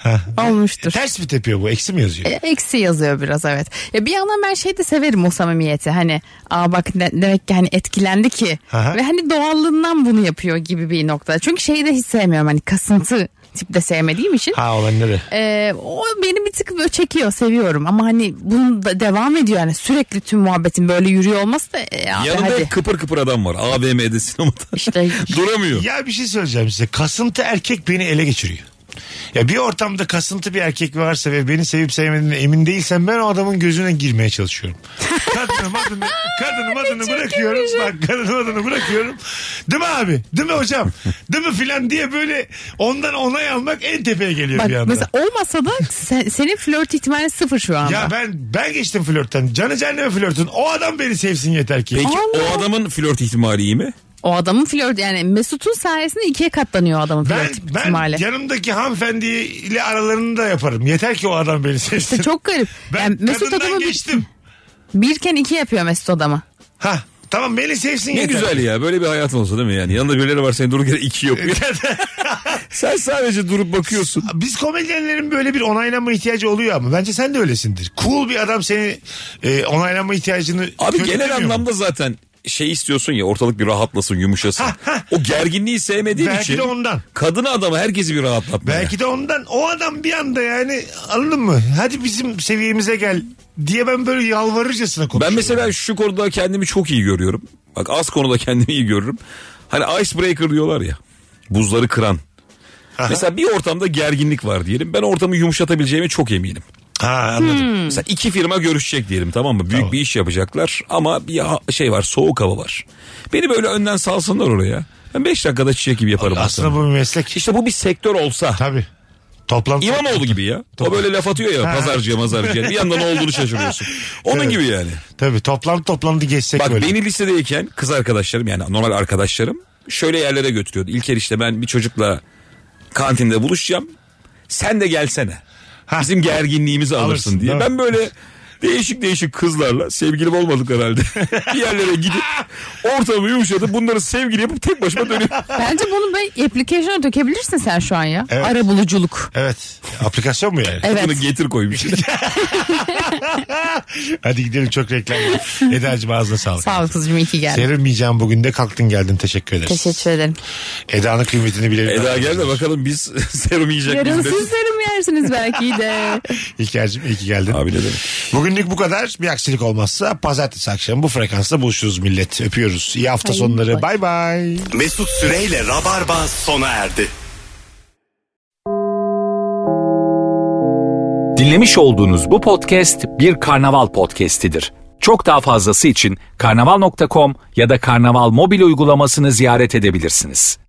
olmuştur. Ters mi tepiyor bu? Eksi mi yazıyor? E, Eksi yazıyor biraz evet. Ya bir yandan ben şey de severim o samimiyeti. Hani aa bak ne- demek ki hani etkilendi ki. Aha. Ve hani doğallığından bunu yapıyor gibi bir nokta. Çünkü şeyi de hiç sevmiyorum hani kasıntı tip de sevmediğim için. Ha olan ne de. E, o beni bir tık böyle çekiyor seviyorum ama hani bunun da devam ediyor yani sürekli tüm muhabbetin böyle yürüyor olması da e, abi Yanında hadi hep kıpır kıpır adam var. AVM'de sinemada. işte Duramıyor. Ya bir şey söyleyeceğim size. Kasıntı erkek beni ele geçiriyor. Ya bir ortamda kasıntı bir erkek varsa ve beni sevip sevmediğine emin değilsem ben o adamın gözüne girmeye çalışıyorum. Kadınım adını, kadınım adını bırakıyorum. Bak kadınım adını bırakıyorum. Değil mi abi? Değil mi hocam? Değil mi filan diye böyle ondan onay almak en tepeye geliyor bak bir anda. mesela olmasa da sen- senin flört ihtimali sıfır şu anda. Ya ben ben geçtim flörtten. Canı cehenneme flörtün. O adam beni sevsin yeter ki. Peki Allah. o adamın flört ihtimali iyi mi? O adamın flört yani Mesut'un sayesinde ikiye katlanıyor o adamın Ben, flört ben ihtimali. yanımdaki hanımefendiyle aralarını da yaparım. Yeter ki o adam beni sevsin. İşte çok garip. Ben yani Mesut kadından adamı bir- geçtim. birken iki yapıyor Mesut adamı. Ha tamam beni sevsin Ne yeter. güzel ya böyle bir hayatın olsa değil mi yani? Yanında birileri var senin durup yere iki yapıyor. Sen sadece durup bakıyorsun. Biz komedyenlerin böyle bir onaylanma ihtiyacı oluyor ama bence sen de öylesindir. Cool bir adam seni e, onaylanma ihtiyacını Abi genel körüklemiyor mu? anlamda zaten şey istiyorsun ya ortalık bir rahatlasın yumuşasın. o gerginliği sevmediğin Belki için de ondan. kadını adamı herkesi bir rahatlatmaya. Belki de ondan o adam bir anda yani anladın mı? Hadi bizim seviyemize gel diye ben böyle yalvarırcasına Ben konuşuyorum. mesela şu konuda kendimi çok iyi görüyorum. Bak az konuda kendimi iyi görürüm. Hani icebreaker diyorlar ya. Buzları kıran. Mesela bir ortamda gerginlik var diyelim. Ben ortamı yumuşatabileceğime çok eminim. Ha anladım. Mesela iki firma görüşecek diyelim tamam mı? Büyük bir iş yapacaklar ama bir ha- şey var soğuk hava var. Beni böyle önden salsınlar oraya. Ben 5 dakikada çiçek gibi yaparım Aslında bu bir meslek. İşte bu bir sektör olsa. Tabii. Toplantı. İmamoğlu gibi ya. O böyle laf atıyor ya pazarcıya mazarcıya. Bir yandan ne olduğunu şaşırıyorsun. Onun Evet. gibi yani. Tabii toplantı toplantı geçsek Bak böyle. beni lisedeyken kız arkadaşlarım yani normal arkadaşlarım şöyle yerlere götürüyordu. İlker işte ben bir çocukla kantinde buluşacağım. Sen de gelsene. Ha. Bizim gerginliğimizi alırsın, Alırsın, diye. değil mi? Ben böyle değişik değişik kızlarla sevgilim olmadık herhalde. bir yerlere gidip ortamı yumuşatıp bunları sevgili yapıp tek başıma dönüyorum. Bence bunu bir application'a dökebilirsin sen şu an ya. Evet. Ara buluculuk. Evet. Aplikasyon mu yani? Evet. Bunu getir koymuş. Hadi gidelim çok reklam var. Eda'cığım ağzına sağlık. Sağ ol kızcığım iyi ki geldin. Sevinmeyeceğim bugün de kalktın geldin teşekkür ederiz. Teşekkür ederim. Eda'nın kıymetini bilelim. Eda gel de bakalım biz serum yiyecek Yarın miyiz? siz serum yersiniz belki de. İlker'cim iyi ki geldin. Abi ne demek. Bugünlük bu kadar. Bir aksilik olmazsa pazartesi akşamı bu frekansta buluşuruz millet. Öpüyoruz. İyi hafta sonları. Bay bay. Mesut Süreyle Rabarba sona erdi. Dinlemiş olduğunuz bu podcast bir karnaval podcastidir. Çok daha fazlası için karnaval.com ya da karnaval mobil uygulamasını ziyaret edebilirsiniz.